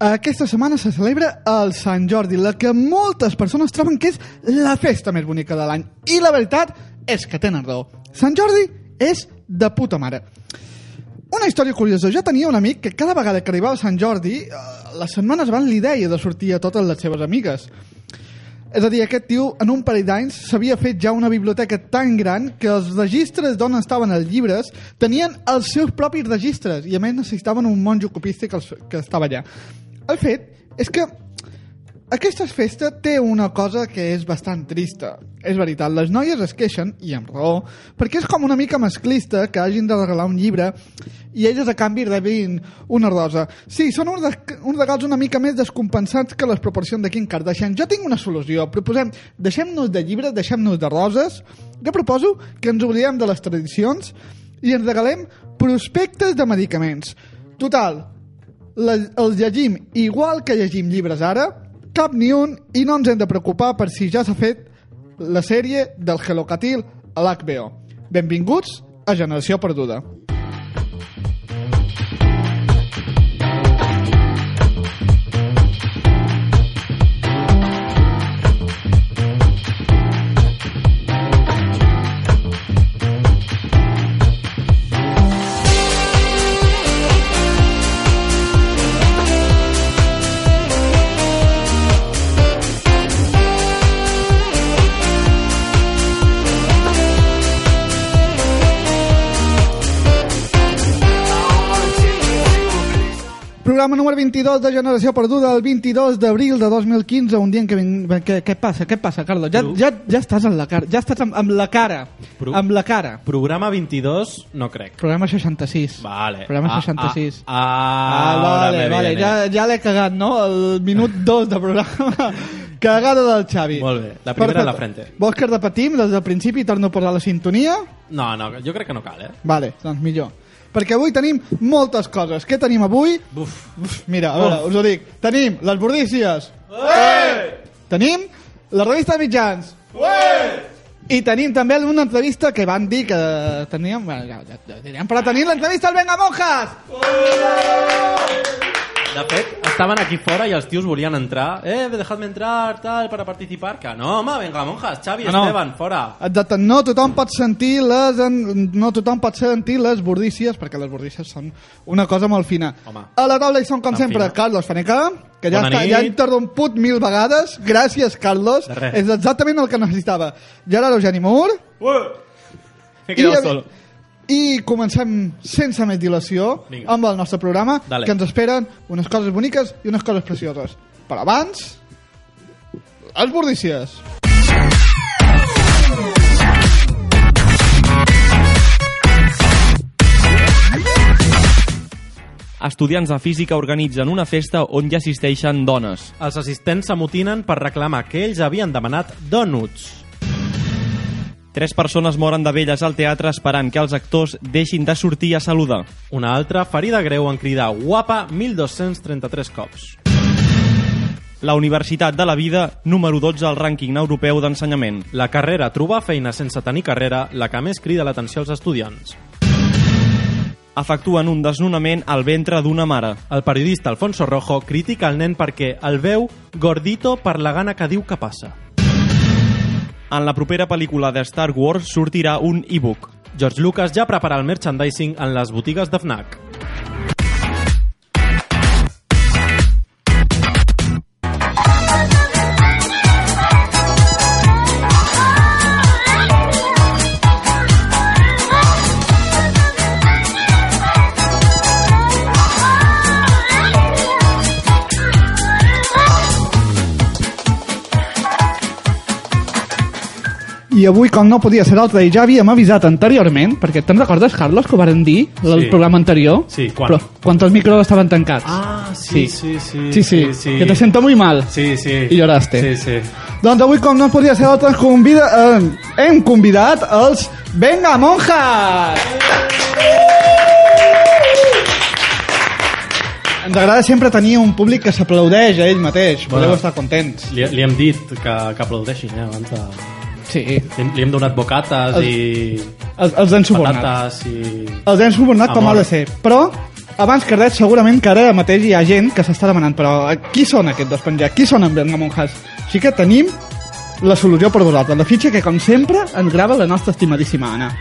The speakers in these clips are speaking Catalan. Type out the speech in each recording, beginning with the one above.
Aquesta setmana se celebra el Sant Jordi, la que moltes persones troben que és la festa més bonica de l'any. I la veritat és que tenen raó. Sant Jordi és de puta mare. Una història curiosa. Jo tenia un amic que cada vegada que arribava Sant Jordi, eh, les setmanes van li deia de sortir a totes les seves amigues. És a dir, aquest tio, en un parell d'anys, s'havia fet ja una biblioteca tan gran que els registres d'on estaven els llibres tenien els seus propis registres i, a més, necessitaven un monjo copista que, els, que estava allà. El fet és que aquesta festa té una cosa que és bastant trista. És veritat, les noies es queixen, i amb raó, perquè és com una mica masclista que hagin de regalar un llibre i elles a canvi rebin una rosa. Sí, són uns, de, uns regals una mica més descompensats que les proporcions de Kim Kardashian. Jo tinc una solució. Proposem, deixem-nos de llibres, deixem-nos de roses. Jo proposo que ens oblidem de les tradicions i ens regalem prospectes de medicaments. Total, la, els llegim igual que llegim llibres ara, cap ni un, i no ens hem de preocupar per si ja s'ha fet la sèrie del Helocatil a l'HBO. Benvinguts a Generació Perduda. Programa número 22 de Generació Perduda, el 22 d'abril de 2015, un dia en què... vin- Què, què passa, què passa, Carlos? Ja, Bru. ja, ja estàs en la cara, ja estàs amb, amb la cara, Bru. amb la cara. Programa 22, no crec. Programa 66. Vale. Programa Ah, 66. Ah, ah, ahora vale, me vale, viene. ja, ja l'he cagat, no? El minut 2 de programa. Cagada del Xavi. Molt bé, la primera a la frente. Vols que repetim des del principi i torno a posar la sintonia? No, no, jo crec que no cal, eh? Vale, doncs millor. Perquè avui tenim moltes coses. Què tenim avui? Buf. Uf, mira, a Oh. veure, us ho dic. Tenim les bordícies. Tenim la revista de mitjans. I tenim també una entrevista que van dir que teníem... Bueno, ja, ja, ja, ho direm, però tenim l'entrevista al Venga Monjas! De fet, estaven aquí fora i els tios volien entrar. Eh, dejadme entrar, tal, para participar. Que no, home, venga, monjas, Xavi, No, no. Esteban, fora. Exacte, no tothom pot sentir les en... no tothom pot sentir les bordícies perquè les bordícies són una cosa molt fina. Home. A la taula hi són com Tan sempre fina. Carlos Faneca, que ja Bona està, nit. ja he interromput mil vegades. Gràcies, Carlos. De res. És exactament el que necessitava. Gerard Eugeni Mur. Me he quedado I- solo. I comencem sense més dilació Vinga. amb el nostre programa Dale. que ens esperen unes coses boniques i unes coses precioses. Però abans, les bordícies. Estudiants de física organitzen una festa on hi assisteixen dones. Els assistents s'amotinen per reclamar que ells havien demanat donuts. Tres persones moren de velles al teatre esperant que els actors deixin de sortir a saludar. Una altra ferida greu en cridar guapa 1233 cops. La Universitat de la Vida, número 12 al rànquing europeu d'ensenyament. La carrera trobar feina sense tenir carrera, la que més crida l'atenció als estudiants. Efectuen un desnonament al ventre d'una mare. El periodista Alfonso Rojo critica el nen perquè el veu gordito per la gana que diu que passa. En la propera pel·lícula de Star Wars sortirà un e-book. George Lucas ja prepara el merchandising en les botigues de FNAC. I avui, com no podia ser altre, i ja havíem avisat anteriorment, perquè te'n recordes, Carlos, que ho varen dir al Sí. programa anterior? Sí, quan? Però, quan els micros estaven tancats. Ah, sí, sí, sí, sí, sí, que te sento muy mal. Sí, sí. I lloraste. Sí, sí. Doncs avui, com no podia ser altre, convida, eh, hem convidat els Venga Monjas! Ens agrada sempre tenir un públic que s'aplaudeix a ell mateix. Podeu Bueno. estar contents. Li, li hem dit que, que aplaudeixin, eh, abans de... Sí, Li, li hem donat bocates i els, els han subornat. patates i... Els hem Ah, subornat com Amor. ha de ser. Però, abans que res, segurament que ara mateix hi ha gent que s'està demanant, però eh, qui són aquests dos penjats? Qui són en Bergamo Monjas? Així que tenim la solució per vosaltres. La fitxa que, com sempre, ens grava la nostra estimadíssima Anna.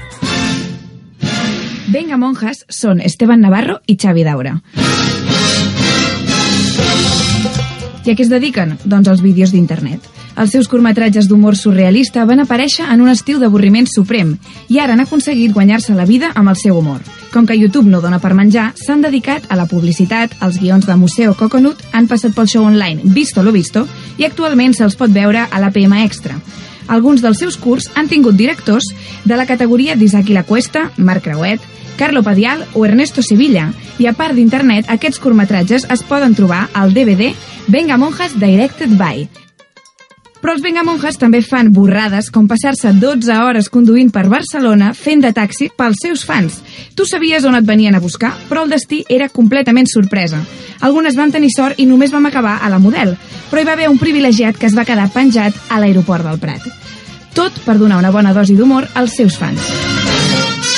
Venga Monjas son Esteban Navarro i Xavi Daura. I a què es dediquen? Doncs als vídeos d'internet. Els seus curtmetratges d'humor surrealista van aparèixer en un estiu d'avorriment suprem i ara han aconseguit guanyar-se la vida amb el seu humor. Com que YouTube no dona per menjar, s'han dedicat a la publicitat, els guions de Museo Coconut, han passat pel show online Visto lo Visto i actualment se'ls pot veure a la PM Extra. Alguns dels seus curts han tingut directors de la categoria d'Isaac i la Cuesta, Marc Creuet, Carlo Padial o Ernesto Sevilla. I a part d'internet, aquests curtmetratges es poden trobar al DVD Venga Monjas Directed By. Però els Venga Monjas també fan borrades com passar-se 12 hores conduint per Barcelona fent de taxi pels seus fans. Tu sabies on et venien a buscar, però el destí era completament sorpresa. Algunes van tenir sort i només vam acabar a la model, però hi va haver un privilegiat que es va quedar penjat a l'aeroport del Prat. Tot per donar una bona dosi d'humor als seus fans.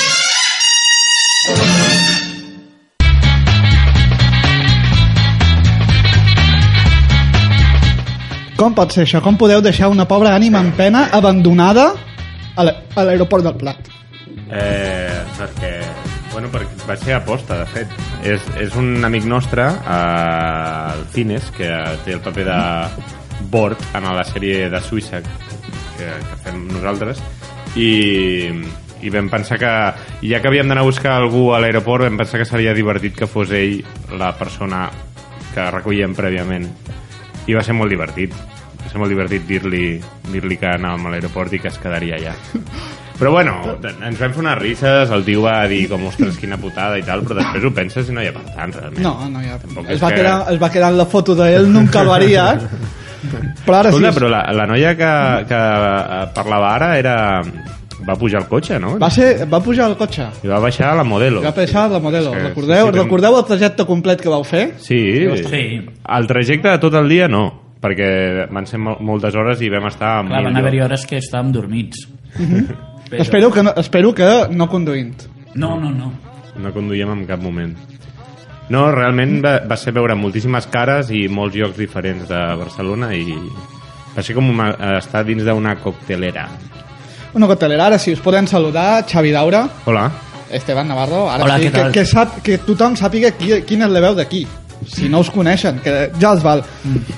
Com pot ser això? Com podeu deixar una pobra ànima en pena abandonada a la- a l'aeroport del Prat? Eh, perquè... Bueno, perquè va ser aposta, de fet. És, és un amic nostre, eh, el Cines, que té el paper de Borg en la sèrie de Suïssa que, que fem nosaltres, i, i vam pensar que, ja que havíem d'anar a buscar algú a l'aeroport, vam pensar que seria divertit que fos ell la persona que recollíem prèviament. I va ser molt divertit. Va ser molt divertit dir-li dir que anàvem a l'aeroport i que es quedaria allà. Però bueno, ens vam fer unes risses, el tio va dir com, ostres, quina putada i tal, però després ho penses i no hi ha per tant, realment. No, no hi ha... Tampoc Es és va, que- quedar, es va quedar en la foto d'ell, nunca lo haría. Però ara Escolta, sí, però la, la noia que, que eh, parlava ara era... Va pujar al cotxe, no? va, ser, va pujar al cotxe. I va baixar la modelo. Va baixar la modelo. Sí, sí, Recordeu, sí, sí. recordeu el trajecte complet que vau fer? Sí, Sí. el trajecte de tot el dia no, perquè van ser mol moltes hores i vam estar... en Clar, mil van haver-hi llocs. hores que estàvem dormits. Però- Espero que, no, espero que no conduint. No, no, no. No conduïem en cap moment. No, realment va, va ser veure moltíssimes cares i molts llocs diferents de Barcelona i va ser com una, estar dins d'una coctelera. Una cotelera, ara sí, us podem saludar, Xavi Daura, Hola. Esteban Navarro, ara Hola, sí, què que, tal? que, sap, que tothom sàpiga qui, quina és la veu d'aquí, si no us coneixen, que ja els val.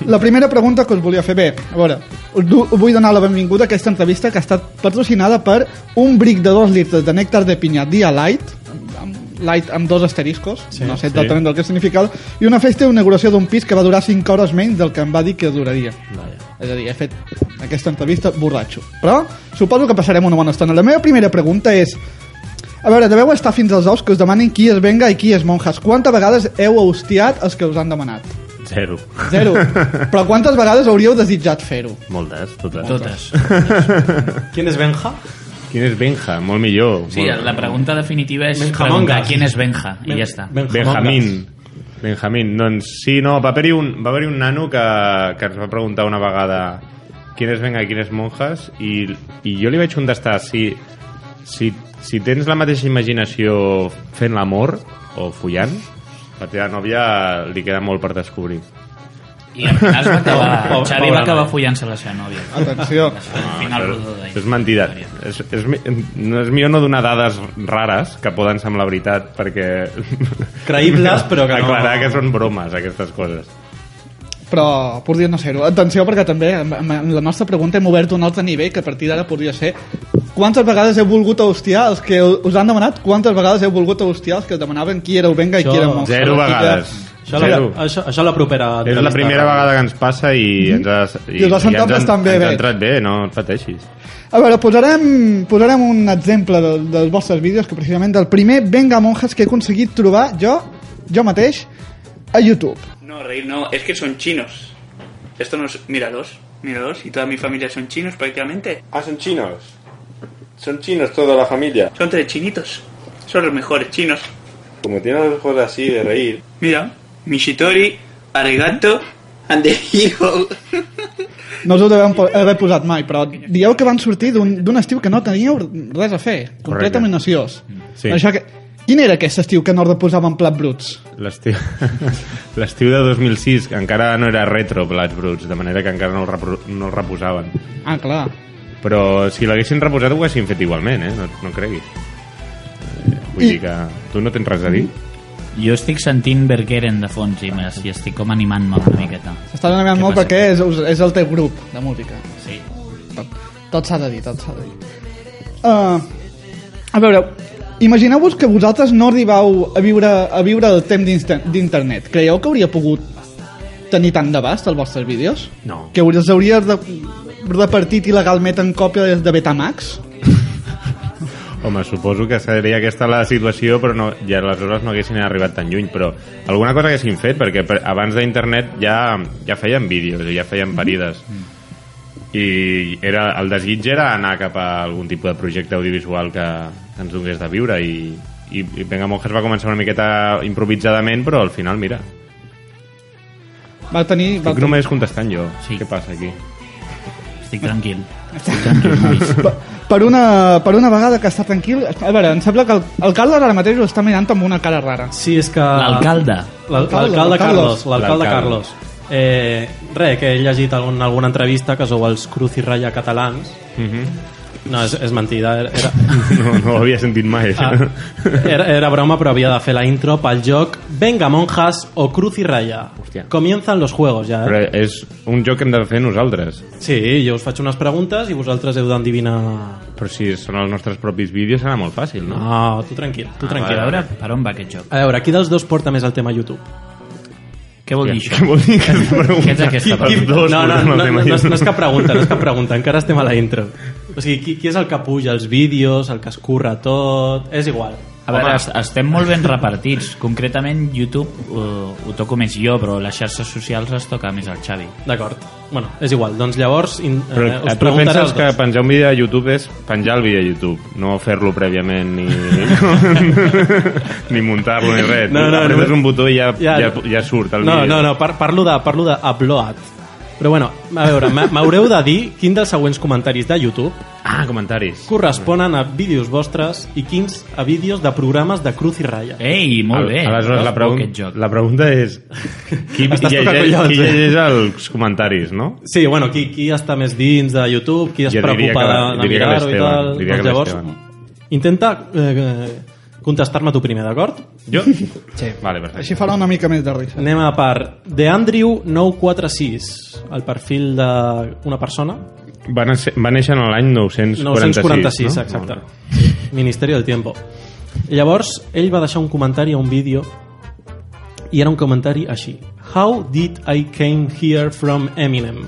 La primera pregunta que us volia fer, bé, a veure, us, du, us vull donar la benvinguda a aquesta entrevista que ha estat patrocinada per un bric de dos litres de nèctar de pinya dia light, amb, amb, light amb dos asteriscos, sí, no sé sí. exactament del que significa, i una festa d'inauguració d'un pis que va durar 5 hores menys del que em va dir que duraria. És a dir, he fet aquesta entrevista borratxo. Però suposo que passarem una bona estona. La meva primera pregunta és... A veure, deveu estar fins als ous que us demanin qui és Venga i qui és Monjas. Quantes vegades heu hostiat els que us han demanat? Zero. Zero. Però quantes vegades hauríeu desitjat fer-ho? Moltes, totes. Totes. ¿Quién es Benja? Quin és Benja? Molt millor. Sí, molt... la pregunta definitiva és Benjamongas. preguntar quién és Benja, i ja està. Ben- Benjamín. Benjamín. Doncs sí, no, va haver-hi un, va haver un nano que, que ens va preguntar una vegada quin és venga i quin és monjas i, i jo li vaig contestar si, si, si tens la mateixa imaginació fent l'amor o follant, la teva nòvia li queda molt per descobrir. I al final es va acabar... Pobre- Xavi pobre va acabar noi. follant-se la seva nòvia. Ah, Atenció. Al final rodó d'ahir. Això és mentida. És, és, mi- no és millor no donar dades rares que poden semblar veritat perquè... Creïbles, però que no- Aclarar que són bromes, aquestes coses. Però podria no ser-ho. Atenció, perquè també amb, amb- amb la nostra pregunta hem obert un altre nivell que a partir d'ara podria ser quantes vegades heu volgut hostiar els que us han demanat, quantes vegades heu volgut hostiar els que us demanaven qui éreu Venga i Això- qui éreu Monjas. Zero Així que- vegades. Això, la, Zero. això, això la propera... És la entrevista. primera vegada que ens passa i ens ha, Mhm. I us ha sentat ens, bastant han- bé, ens ha bé. entrat bé, no et pateixis. A veure, posarem, posarem un exemple de, dels vostres vídeos, que precisament del primer Venga Monjas que he aconseguit trobar jo, jo mateix, a YouTube. No, reír no, es que son chinos. Esto no es. Míralos, míralos, y toda mi familia son chinos prácticamente. Ah, son chinos. Son chinos toda tota la familia. Son tres chinitos. Son los mejores chinos. Como tienen los ojos así de reír. Mira, Mishitori, Arigato, and the hero. No us ho devem po- haver posat mai, però dieu que van sortir d'un d'un estiu que no teníeu res a fer. Completament ociós. Sí. Això que... Quin era aquest estiu que Norda posava en plat bruts? L'estiu l'estiu de 2006, que encara no era retro Blats Bruts, de manera que encara no el, repro... no el reposaven. Ah, clar. Però si l'haguessin reposat ho haguessin fet igualment, eh? No, no creguis. Eh, Vull I- dir que tu no tens res a dir. Jo estic sentint Bergeren de fons i, m'es- i estic com animant-me una miqueta. S'està demanant Què molt passa? perquè és, us- és el teu grup de música. Sí. Tot, tot s'ha de dir, tot s'ha de dir. Uh, a veure, imagineu-vos que vosaltres no arribau a viure, a viure el temps d'insta- d'internet. Creieu que hauria pogut tenir tant d'abast els vostres vídeos? No. Que us els hauria de, repartit il·legalment en còpia des de Betamax? Home, suposo que seria aquesta la situació, però no, ja aleshores no haguessin arribat tan lluny, però alguna cosa haguessin fet, perquè per- abans d'internet ja, ja feien vídeos i ja feien parides. I era, el desig era anar cap a algun tipus de projecte audiovisual que, que ens donés de viure i, i, i Venga Monjas va començar una miqueta improvisadament, però al final, mira, Va tenir... Va estic tenir només contestant jo. Sí. Què passa aquí? Estic tranquil. Estic tranquil, nois. per- per una, per una vegada que està tranquil... A veure, em sembla que el, el Carles ara mateix ho està mirant amb una cara rara. Sí, és que... L'alcalde. L'al- L'alcalde L'alcalde Carlos. Carlos. L'alcalde L'alcalde. Carlos. Eh, re, que he llegit algun, alguna entrevista que sou els Cruz i Raya catalans. Uh -huh. No, és, és mentida. Era, era, no, no ho havia sentit mai. ah, era, era broma, però havia de fer la intro pel joc Venga, monjas o Cruz i Raya. Hòstia. Comienzan los juegos, ja. Però Eh? és un joc que hem de fer nosaltres. Sí, jo us faig unes preguntes i vosaltres heu d'endevinar... Però si són els nostres propis vídeos serà molt fàcil, no? No, tu tranquil, tu Tranquil, tranquil. a veure per on va aquest joc. A veure, qui dels dos porta més el tema YouTube? Què vol dir Què això? vol dir que Què és aquesta Els pregunta? dos no, no, portem no, el no, no, tema és, junts. no és cap pregunta, no és cap pregunta, encara estem a la intro. O sigui, qui, qui és el que puja els vídeos, el que es curra tot... És igual. A veure, es- estem molt ben repartits. Concretament, YouTube ho, ho toco més jo, però les xarxes socials les toca més el Xavi. D'acord. Bueno, és igual. Doncs llavors in, Però eh, us tu preguntaré penses els que dos. penjar un vídeo a YouTube és penjar el vídeo a YouTube, no fer-lo prèviament ni, ni muntar-lo ni res. No, no, Apretes no. un botó i ja, Ja, ja, ja, no. surt el No, vídeo. no, no, par parlo de, parlo de upload. Però bueno, a veure, m'ha- m'haureu de dir quin dels següents comentaris de YouTube Ah, comentaris. corresponen a vídeos vostres i quins a vídeos de programes de Cruz i Raya. Ei, molt bé. Aleshores, la, pregunta... pregun Aquest joc. la pregunta és qui Estàs llegeix, tocant collons, qui eh? llegeix els comentaris, no? Sí, bueno, qui, qui està més dins de YouTube, qui es Jo diria preocupa que de, la- de diria que mirar-ho i l'Esteban, tal. diria Doncs que llavors, intenta eh, eh, contestar-me tu primer, d'acord? Jo? Sí. Vale, Així perfecte. farà una mica més de risa. Anem a per The Andrew 946, el perfil d'una persona. Va, néixer, va néixer en l'any 946, 946, no? exacte. Molt bé. Ministeri del Tiempo. Llavors, ell va deixar un comentari a un vídeo i era un comentari així. How did I came here from Eminem?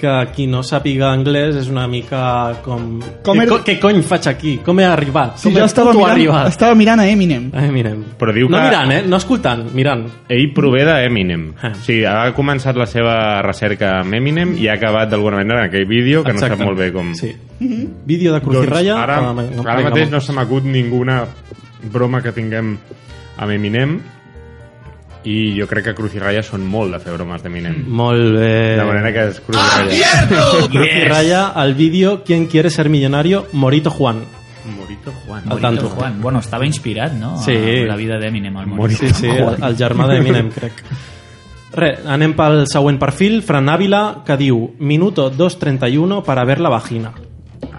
Que qui no sàpiga anglès és una mica com... Com què, he- co- què cony faig aquí? Com he arribat? Si Com jo he estava puto mirant, arribat? estava mirant a Eminem. A Eminem. Però diu no que- mirant, eh? No escoltant, mirant. Ell prové d'Eminem. Ah. O sigui, ha començat la seva recerca amb Eminem i ha acabat d'alguna manera en aquell vídeo que no Exacte. sap molt bé com... Sí. Vídeo de Cruz i Doncs Raya. ara, Ah, vinga, ara mateix va. no se m'acut ninguna broma que tinguem amb Eminem i jo crec que Cruz i Raya són molt de fer bromes d'Eminem. Molt bé. De manera que és Cruz i Ah, Raya. Cruz y Raya al vídeo ¿Quién quiere ser millonario? Morito Juan. Morito Juan. Al Morito tanto. Juan. Bueno, estava inspirat, no? Sí. A la vida d'Eminem, el Morito. Sí, sí, el, el germà d'Eminem, crec. Re, anem pel següent perfil, Fran Ávila, que diu Minuto 2.31 para ver la vagina.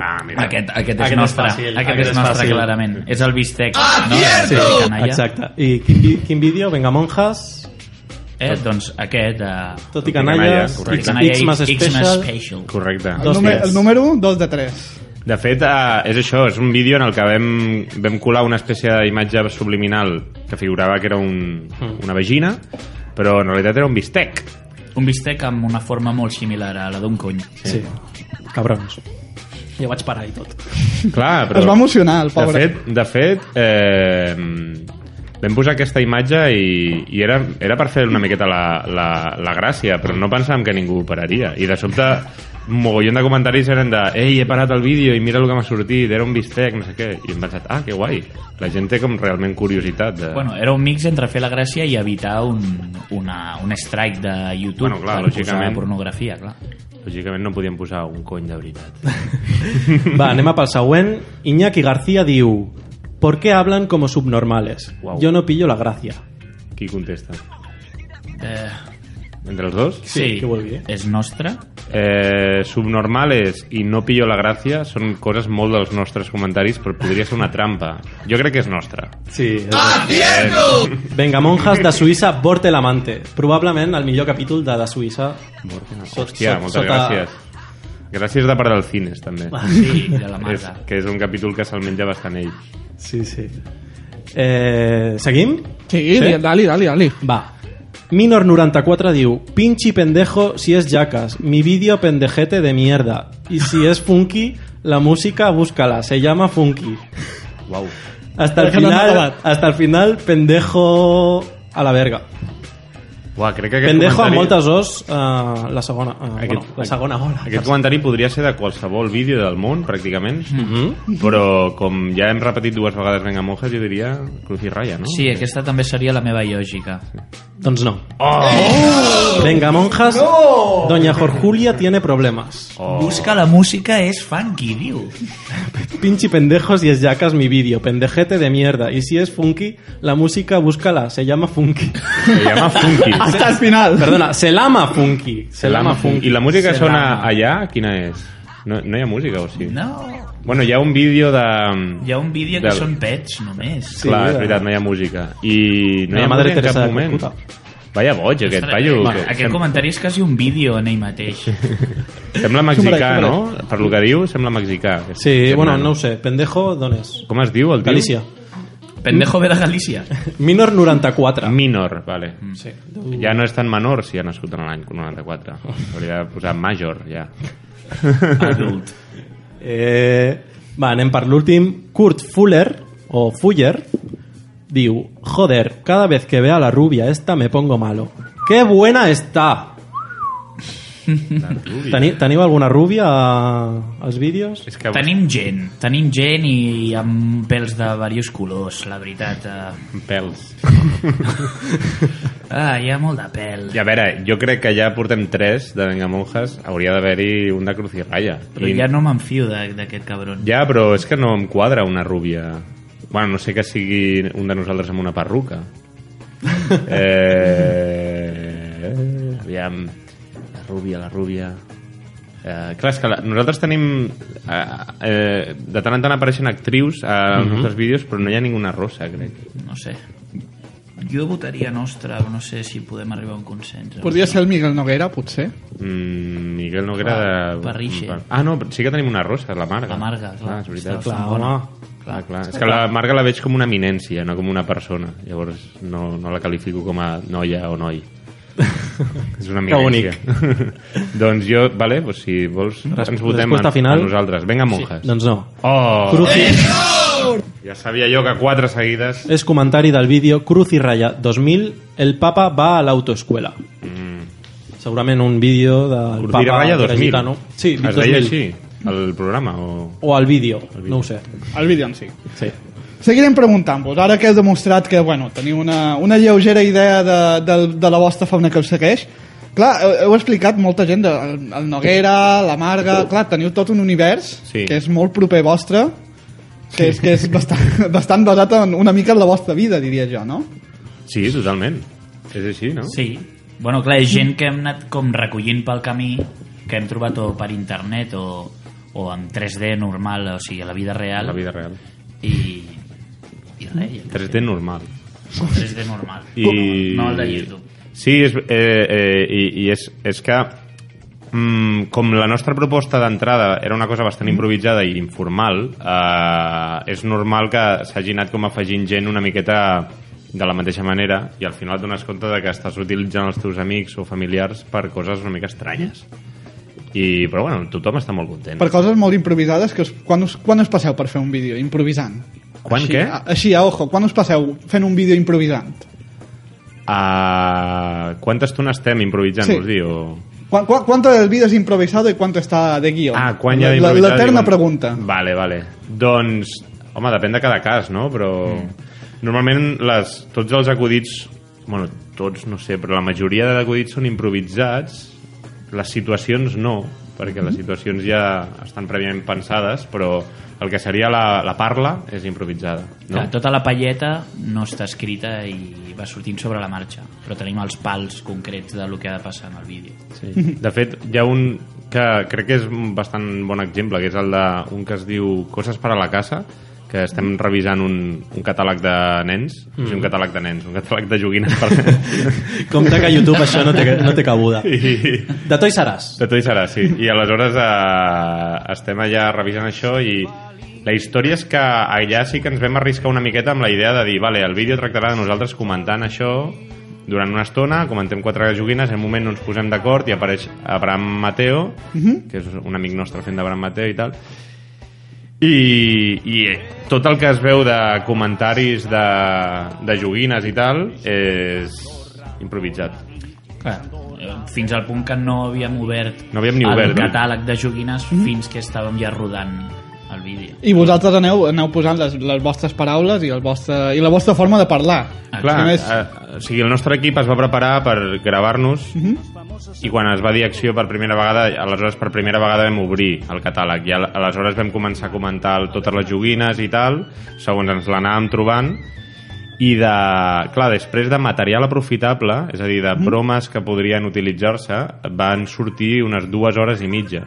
Ah, mira. Aquest, aquest és Aquest és nostre, fàcil, aquest, aquest és és nostre, fàcil. Ah, clarament. És el bistec. No? Sí, canalla. Exacte. I quin, vi- quin vídeo? Venga, monjas. Eh, doncs aquest... Eh, Tot i Tot i canalles, canalles. correcte. X, canalla X más X más special. special. Correcte. El, número, el número 1, 2 de 3. De fet, eh, és això, és un vídeo en el que vam, vam colar una espècie d'imatge subliminal que figurava que era un, una vagina, però en realitat era un bistec. Un bistec amb una forma molt similar a la d'un cony. Sí. Cabrons. Jo vaig parar i tot. Clar, però... Es va emocionar, el pobre. De fet, de fet eh, vam posar aquesta imatge i, i era, era per fer una miqueta la, la, la gràcia, però no pensàvem que ningú ho pararia. I de sobte, un mogollon de comentaris eren de «Ei, he parat el vídeo i mira el que m'ha sortit, era un bistec, no sé què». I hem pensat «Ah, que guai, la gent té com realment curiositat». De... Bueno, era un mix entre fer la gràcia i evitar un, una, un strike de YouTube Bueno, clar, per lògicament. posar pornografia, clar. Lògicament no podíem posar un cony de veritat. Va, anem a pel següent. Iñaki García diu... ¿Por qué hablan como subnormales? Guau. Yo no pillo la gracia. Qui contesta? Eh, Entre els dos? sí, què vol dir? és nostre. Eh, subnormales i no pillo la gràcia són coses molt dels nostres comentaris, però podria ser una trampa. Jo crec que és nostra. Sí. Ah, Venga, monjas de Suïssa, Borte l'amante. Probablement el millor capítol de de Suïssa. Sot- Hòstia, sot- moltes sota- gràcies. Gràcies de part del cines, també. Sí, de la és, marca. que és un capítol que se'l menja bastant ell. Sí, sí. Eh, seguim? Sí, Sí? sí? dali, dali, dali. Va. Minor94 diu Pinchi pendejo si es jacas Mi vídeo pendejete de mierda Y si es funky, la música búscala Se llama funky Uau. Hasta el Perquè no hem final, acabat. hasta el final pendejo a la verga Uau, crec que aquest Pendejo amb comentari... moltes os eh, la segona, eh, Aquest- bueno, la segona ola Aquest comentari podria ser de qualsevol vídeo del món, pràcticament, però com ja hem repetit dues vegades Venga Monjas, jo diria Cruz i Raya, no? Sí, aquesta també seria la meva lògica. Doncs no Oh! Venga monjas Doña Jorjulia tiene problemas Oh. Busca la música és funky, diu. Pinchi pendejos y es jacas mi vídeo Pendejete de mierda Y si es funky, la música búscala Se llama funky Se llama Funky. Ah, Hasta el final. Perdona, Selama Funky. Selama Funky. I la música Se sona l'ama. allà? Quina és? No, no hi ha música, o sí? No, Bueno, hi ha un vídeo de... hi ha un vídeo que Del- són pets, només. Sí. Clar, de- és veritat, no hi ha música. I no De hi ha Madre música en Teresa cap de moment. Calcuta. Vaya boig, aquest paio. Bueno, que- eh, aquest sem- comentari és quasi un vídeo en ell mateix. Sembla mexicà, Xumbre, no? Per lo que diu, sembla mexicà. Aquest Sí, germà, bueno, no ho sé. Pendejo, d'on és? Com es diu el tio? Galícia. Pendejo ve de Galícia. Minor 94. Minor, vale. Sí. Ja no és tan menor si ha nascut en l'any 94. Hauria de posar major, ja. Adult. Eh, va, anem per l'últim. Kurt Fuller, o Fuller, diu Joder, cada vez que vea a la rubia esta me pongo malo. ¡Qué buena está! Teni, teniu alguna rubia a- als vídeos? És que Tenim gent, tenim gent i amb pèls de diversos colors, la veritat. eh. pèls. Ah, hi ha molt de pèl. I a veure, jo crec que ja portem tres de Venga Monjas, hauria d'haver-hi un de Cruz i Raya. Però I- ja no m'enfio de- d'aquest cabron. Ja, però és que no em quadra una rúbia. Bueno, no sé que sigui un de nosaltres amb una perruca. eh... Aviam. La rúbia, la rúbia... Eh, clar, és que la, nosaltres tenim... Eh, eh, de tant en tant apareixen actrius eh, Mhm. als nostres vídeos, però no hi ha ninguna rosa, crec. No sé. Jo votaria nostra, però no sé si podem arribar a un consens. Podria ser el Miguel Noguera, potser. Mm, Miguel Noguera... Clar, Parrixe. Ah, no, però sí que tenim una rosa, la Marga. La Marga, clar. Ah, és veritat. Està bastant Clar, bona. home. Clar, clar. És que la Marga la veig com una eminència, no com una persona. Llavors no, no la qualifico com a noia o noi. és una eminència. doncs jo, vale, pues si vols, Res- ens votem resposta a, final? a nosaltres. Vinga, monjas. Doncs no. Oh, Cruci, ja sabia jo que quatre seguides... és comentari del vídeo Cruz i Raya 2000, el papa va a l'autoescuela. Segurament un vídeo del Cruz papa... i Raya que era 2000. gitano. Sí, es 2000. deia així, el programa? O... O al vídeo, no ho sé. El vídeo en si. Sí. Seguirem preguntant-vos. Ara que heu demostrat que bueno, teniu una, una lleugera idea de, de, de la vostra fauna que us segueix, clar, heu, heu explicat molta gent, de, el, el Noguera, la Marga... Clar, teniu tot un univers Sí. que és molt proper vostre, que és, que és bastant, bastant basat en, una mica en la vostra vida, diria jo, no? Sí, totalment. És així, no? Sí. Bueno, clar, és gent que hem anat com recollint pel camí, que hem trobat o per internet o, o en 3D normal, o sigui, a la vida real. La vida real. I, i res, ja. 3D normal. 3D normal. I... No el de YouTube. Sí, és, eh, eh, i, i és, és que mm, com la nostra proposta d'entrada era una cosa bastant improvisada i informal, eh, és normal que s'hagi anat com afegint gent una miqueta de la mateixa manera i al final et dones compte de que estàs utilitzant els teus amics o familiars per coses una mica estranyes. I, però bueno, tothom està molt content. Per coses molt improvisades, que us, quan, us, quan us passeu per fer un vídeo improvisant? Quan així, ah. què? A, així, a ojo, quan us passeu fent un vídeo improvisant? Uh, quanta estona estem improvisant, Sí. sí. us diu? Quan, quan, ¿Cuánto del vídeo es improvisado y cuánto está de guió? Ah, quan hi ha La- d'improvisar? la- L'eterna diuen. pregunta. Vale, vale. Doncs, home, depèn de cada cas, no? Però normalment les, tots els acudits... Bueno, tots, no sé, però la majoria de acudits són improvisats. Les situacions no, perquè les situacions ja estan prèviament pensades, però el que seria la, la parla és improvisada. No? No? Tota la palleta no està escrita i va sortint sobre la marxa, però tenim els pals concrets de lo que ha de passar en el vídeo. Sí. De fet, hi ha un que crec que és un bastant bon exemple, que és el de un que es diu Coses per a la casa, que estem revisant un, un catàleg de nens, mm. sí, un catàleg de nens, un catàleg de joguines per nens. Compte que a YouTube això no té, no té cabuda. I, De Toys R Us. de tot i serà, sí. I aleshores eh, estem allà revisant això i la història és que allà sí que ens vam arriscar una miqueta amb la idea de dir, vale, el vídeo tractarà de nosaltres comentant això durant una estona, comentem quatre joguines, en un moment no ens posem d'acord i apareix Abraham Mateo, que és un amic nostre fent d'Abraham Mateo i tal, i, i eh, tot el que es veu de comentaris de, de joguines i tal és improvisat. Clar, eh, fins al punt que no havíem obert, No havíem ni obert, eh? Mhm. el no? catàleg de joguines fins que estàvem ja rodant el vídeo. I vosaltres aneu, aneu posant les, les vostres paraules i, el vostre, i la vostra forma de parlar. Clar, Només- eh, o sigui, el nostre equip es va preparar per gravar-nos i quan es va dir acció per primera vegada, aleshores per primera vegada vam obrir el catàleg i al- aleshores vam començar a comentar el- totes les joguines i tal, segons ens l'anàvem trobant i de, clar, després de material aprofitable, és a dir, de bromes que podrien utilitzar-se, van sortir unes dues hores i mitja.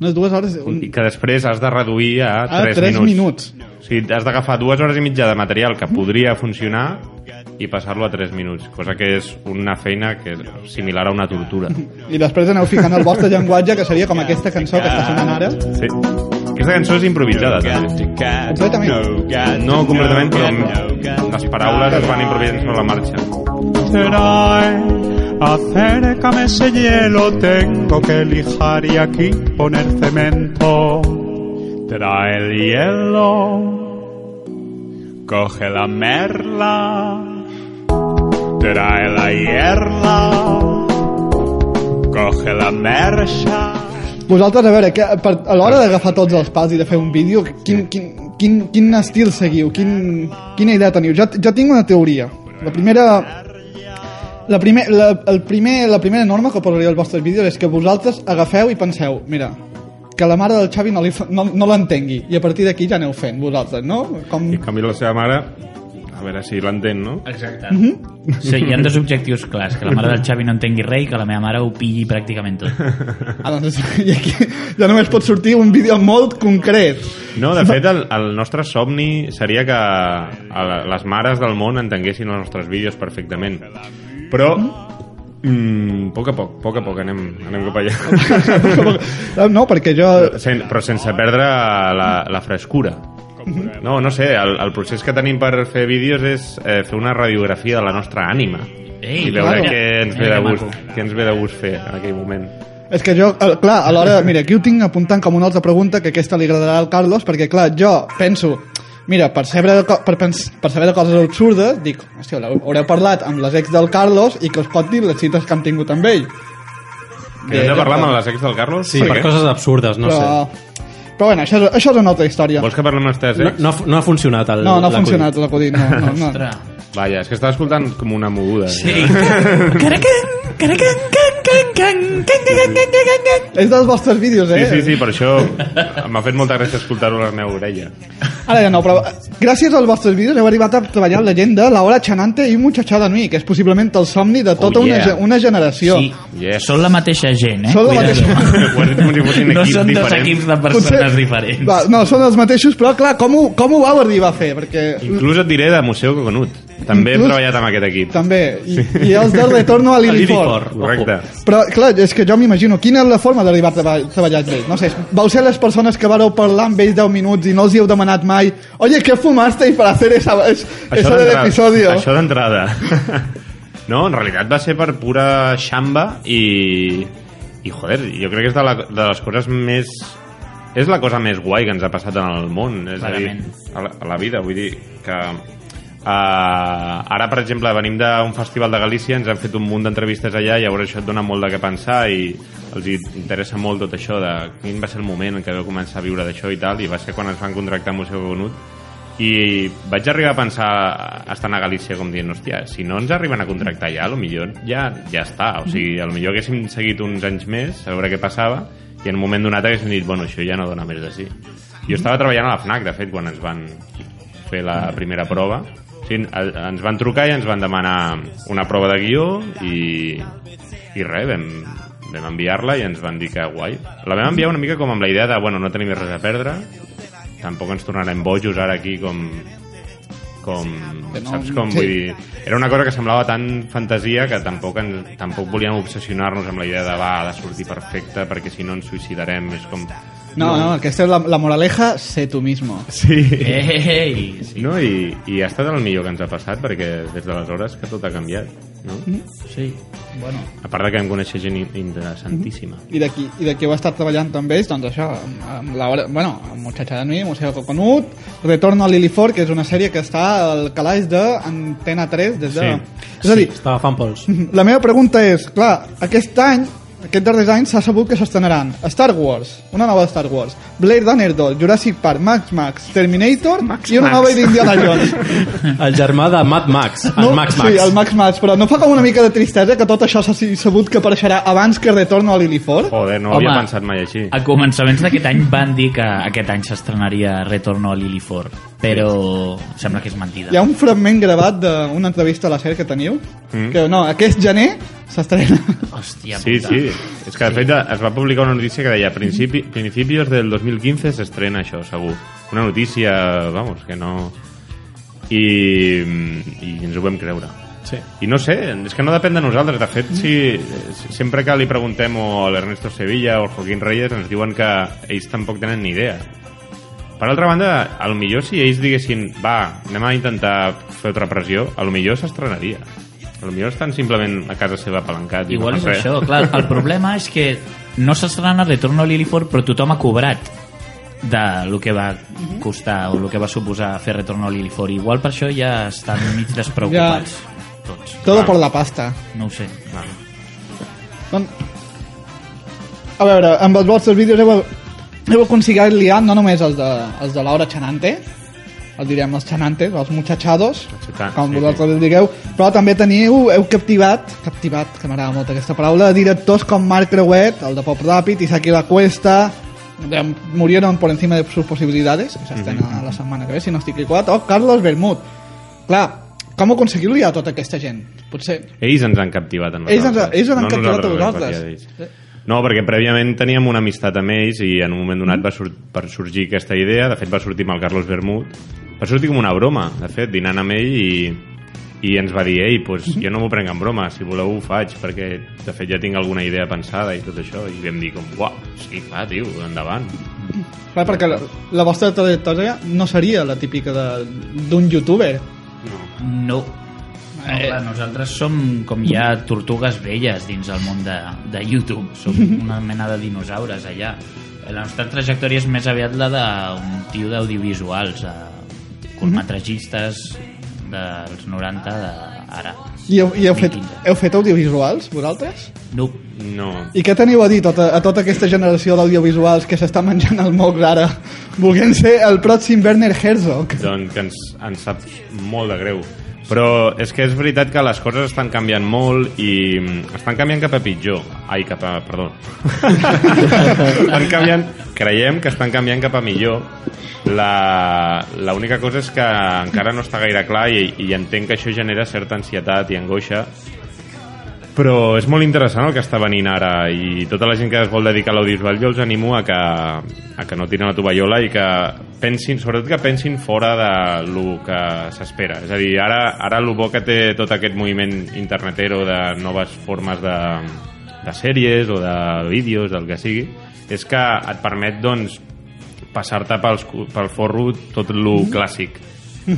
Unes dues hores... Un, I que després has de reduir a Ah, 3 tres minuts. minuts. O sigui, has d'agafar dues hores i mitja de material que podria funcionar i passar-lo a 3 minuts, cosa que és una feina que és similar a una tortura. I després aneu ficant el vostre llenguatge, que seria com aquesta cançó que està sonant ara. Sí. Aquesta cançó és improvisada, també. Completament. No completament, però les paraules es van improvisant sobre la marxa. eh, Acércame ese hielo, tengo que lijar y aquí poner cemento. Trae el hielo, coge la merla, trae la hierla, coge la mercha. Vosaltres, a veure, que, per, a l'hora d'agafar tots els pals i de fer un vídeo, quin, quin, quin, quin estil seguiu? Quin, quina idea teniu? Jo, jo tinc una teoria. La primera... La, primer, la, el primer, la primera norma que posaria als vostres vídeos és que vosaltres agafeu i penseu, mira, que la mare del Xavi no, li fa- no, no l'entengui i a partir d'aquí ja aneu fent vosaltres, no? Com... I en canvi la seva mare, a veure si l'entén, no? Exacte. Mm Mhm. -hmm. sí, hi ha dos objectius clars, que la mare del Xavi no entengui res i que la meva mare ho pilli pràcticament tot. Ah, doncs, i aquí ja només pot sortir un vídeo molt concret. No, de fet, el, el nostre somni seria que a la- les mares del món entenguessin els nostres vídeos perfectament. Però, mm, a poc a poc, a poc a poc, anem, anem cap allà. No, perquè jo... Sen, però sense perdre la, la frescura. No, no sé, el, el procés que tenim per fer vídeos és eh, fer una radiografia de la nostra ànima Ei, i veure claro. què ens ve Mira de que gust, maco. què ens ve de gust fer en aquell moment. És que jo, eh, clar, a l'hora... Mira, aquí ho tinc apuntant com una altra pregunta que aquesta li agradarà al Carlos, perquè, clar, jo penso... Mira, per saber, de co- per, pens- per saber de coses absurdes, dic, hòstia, haureu- haureu parlat amb les ex del Carlos i que us pot dir les cites que han tingut amb ell. Que hem de parlar amb les ex del Carlos? Eh, Sí, per què? coses absurdes, no sé. però, però bueno, això, és- això és una altra història. Vols que parlem amb les teves No, ex? no, ha- no ha funcionat No, el, no ha l'acudit. funcionat l'acudit, no, no, no. Ostres. Vaja, és que estava escoltant com una moguda. eh? Sí. És dels vostres vídeos, Sí, eh? sí, sí, per això m'ha fet molta gràcia escoltar-ho a la meva orella. Ara ja no, però eh, gràcies als vostres vídeos heu arribat a treballar la gent de La Hora Chanante i Muchachada Nui, que és possiblement el somni de tota Oh, una, yeah. ge- una generació. Sí, Yes. són la mateixa gent, eh? Són la Cuidado. mateixa- Ho has dit com si fossin No equips són dos diferents. equips de persones diferents. Va, no, són els mateixos, però clar, com ho, com ho vau arribar a fer? Perquè Inclús et diré de Museu Coconut. També Inclús- he treballat amb aquest equip. també, i, i els de retorno a l'Ilifort. Correcte. Però, clar, és que jo m'imagino quina és la forma d'arribar a treba- treballar amb ells. No sé, vau ser les persones que vareu parlar amb ells 10 minuts i no els hi heu demanat mai oye, ¿qué fumasteis para hacer esa, eh? es, eso del d'entrada- episodio? Això d'entrada. No, en realitat va ser per pura xamba i... I, joder, jo crec que és de, la, de les coses més és la cosa més guai que ens ha passat en el món, és Clarament. a dir, a la, a la vida, vull dir que... Uh, ara, per exemple, venim d'un festival de Galícia, ens han fet un munt d'entrevistes allà i llavors això et dona molt de què pensar i els hi interessa molt tot això de quin va ser el moment en què vau començar a viure d'això i tal, i va ser quan ens van contractar a Museu Conut i vaig arribar a pensar estant a Galícia com dient, hòstia, si no ens arriben a contractar ja, lo millor ja, ja està, o sigui, a lo millor haguéssim seguit uns anys més a veure què passava i en un moment donat haguéssim dit, bueno, això ja no dona més de sí. Jo estava treballant a la FNAC, de fet, quan ens van fer la primera prova. O sigui, el- ens van trucar i ens van demanar una prova de guió i, i res, vam, vam enviar-la i ens van dir que guai. La vam enviar una mica com amb la idea de, bueno, no tenim res a perdre, tampoc ens tornarem bojos ara aquí com com, Que no- saps com, sí. vull dir, era una cosa que semblava tan fantasia que tampoc, ens, tampoc volíem obsessionar-nos amb la idea de va, ha de sortir perfecte perquè si no ens suïcidarem, és com... No, no, aquesta és la, la moraleja, sé tu mismo. Sí. Ei, sí. No, i, i ha estat el millor que ens ha passat perquè des d'aleshores que tot ha canviat, no? Sí. Mm-hmm. Bueno. Mm-hmm. A part de que vam conèixer gent in- interessantíssima. I d'aquí i d'aquí heu estat treballant amb ells, doncs això, amb, amb la hora, bueno, amb Muchacha de Nui, Museo Coconut, Retorno a Lilifort, que és una sèrie que està al calaix d'Antena 3 des de... Sí. És a dir, Estava fan pols. la meva pregunta és, clar, aquest any, aquests darrers anys s'ha sabut que s'estrenaran Star Wars, una nova de Star Wars, Blade Runner 2, Jurassic Park, Max Max, Terminator Max i una Max. nova d'Indiana Jones. El germà de Mad Max, en Max Max. Sí, el Max Max, però no fa com una mica de tristesa que tot això s'ha sabut que apareixerà abans que Retorno a Lilifort? Joder, no ho Home. havia pensat mai així. A començaments d'aquest any van dir que aquest any s'estrenaria Retorno a Lilifort, però sembla que és mentida. Hi ha un fragment gravat d'una entrevista a la sèrie que teniu, mm. que no, aquest gener s'estrena. Hòstia Sí, puta. sí. És que, de fet, es va publicar una notícia que deia principi, principios del 2015 s'estrena això, segur. Una notícia, vamos, que no... I, I ens ho vam creure. Sí. I no sé, és que no depèn de nosaltres. De fet, si, si- sempre que li preguntem o a l'Ernesto Sevilla o al Joaquín Reyes ens diuen que ells tampoc tenen ni idea. Per altra banda, a lo millor si ells diguessin va, anem a intentar fer otra pressió, a lo millor s'estrenaria. A lo millor estan simplement a casa seva apalancat. i Igual no és fan res. això, clar. El problema és que no s'estrena Retorno a Lilifort, però tothom ha cobrat de lo que va Mhm. costar o lo que va suposar fer Retorno a Lilifort. Igual per això ja estan mig despreocupats. Tots. Todo por la pasta. No ho sé. Don... Doncs, A veure, amb els vostres vídeos heu, heu aconseguit liar no només els de, els de l'hora Chanante, els direm els Chanantes, els muchachados, Muchachans, com sí, vosaltres sí. digueu, però també teniu, heu captivat, captivat, que m'agrada molt aquesta paraula, directors com Marc Creuet, el de Pop Ràpid, Isaki La Cuesta, de Murieron por encima de sus posibilidades, que s'estén mm la setmana que ve, si no estic equivocat, o Carlos Bermud. Clar, com aconseguir liar tota aquesta gent? Potser Ells ens han captivat a ells, nosaltres. ens, ells ens han captivat a nosaltres. vosaltres. ens han captivat ells. No, perquè prèviament teníem una amistat amb ells i en un moment donat Mm. va sur per sorgir aquesta idea. De fet, va sortir amb el Carlos Bermud. Va sortir com una broma, de fet, dinant amb ell i, i ens va dir ei, pues, Mm-hmm. jo no m'ho prenc en broma, si voleu ho faig, perquè de fet ja tinc alguna idea pensada i tot això. I vam dir com, uah, sí, clar, tio, endavant. Clar, perquè la, la vostra trajectòria no seria la típica de- d'un youtuber. No. No, clar, nosaltres som com hi ha tortugues velles dins el món de, de YouTube. Som una mena de dinosaures allà. La nostra trajectòria és més aviat la d'un tio d'audiovisuals, de curtmetratgistes dels 90 de ara. I heu, i heu, fet, 2015. heu fet audiovisuals, vosaltres? No. No, I què teniu a dir tot, a tota aquesta generació d'audiovisuals que s'està menjant el moc ara, volent ser el pròxim Werner Herzog? doncs que ens, ens sap molt de greu. Però és que és veritat que les coses estan canviant molt i mm, estan canviant cap a pitjor. Ai, cap a... perdó. estan canviant... Creiem que estan canviant cap a millor. La- L'única cosa és que encara no està gaire clar i, i entenc que això genera certa ansietat i angoixa però és molt interessant el que està venint ara i tota la gent que es vol dedicar a l'audiovisual jo els animo a que, a que no tiren la tovallola i que pensin, sobretot que pensin fora de lo que s'espera. És a dir, ara, ara el bo que té tot aquest moviment internetero de noves formes de, de sèries o de vídeos, del que sigui, és que et permet doncs, passar-te pels cu- pel forro tot lo clàssic i...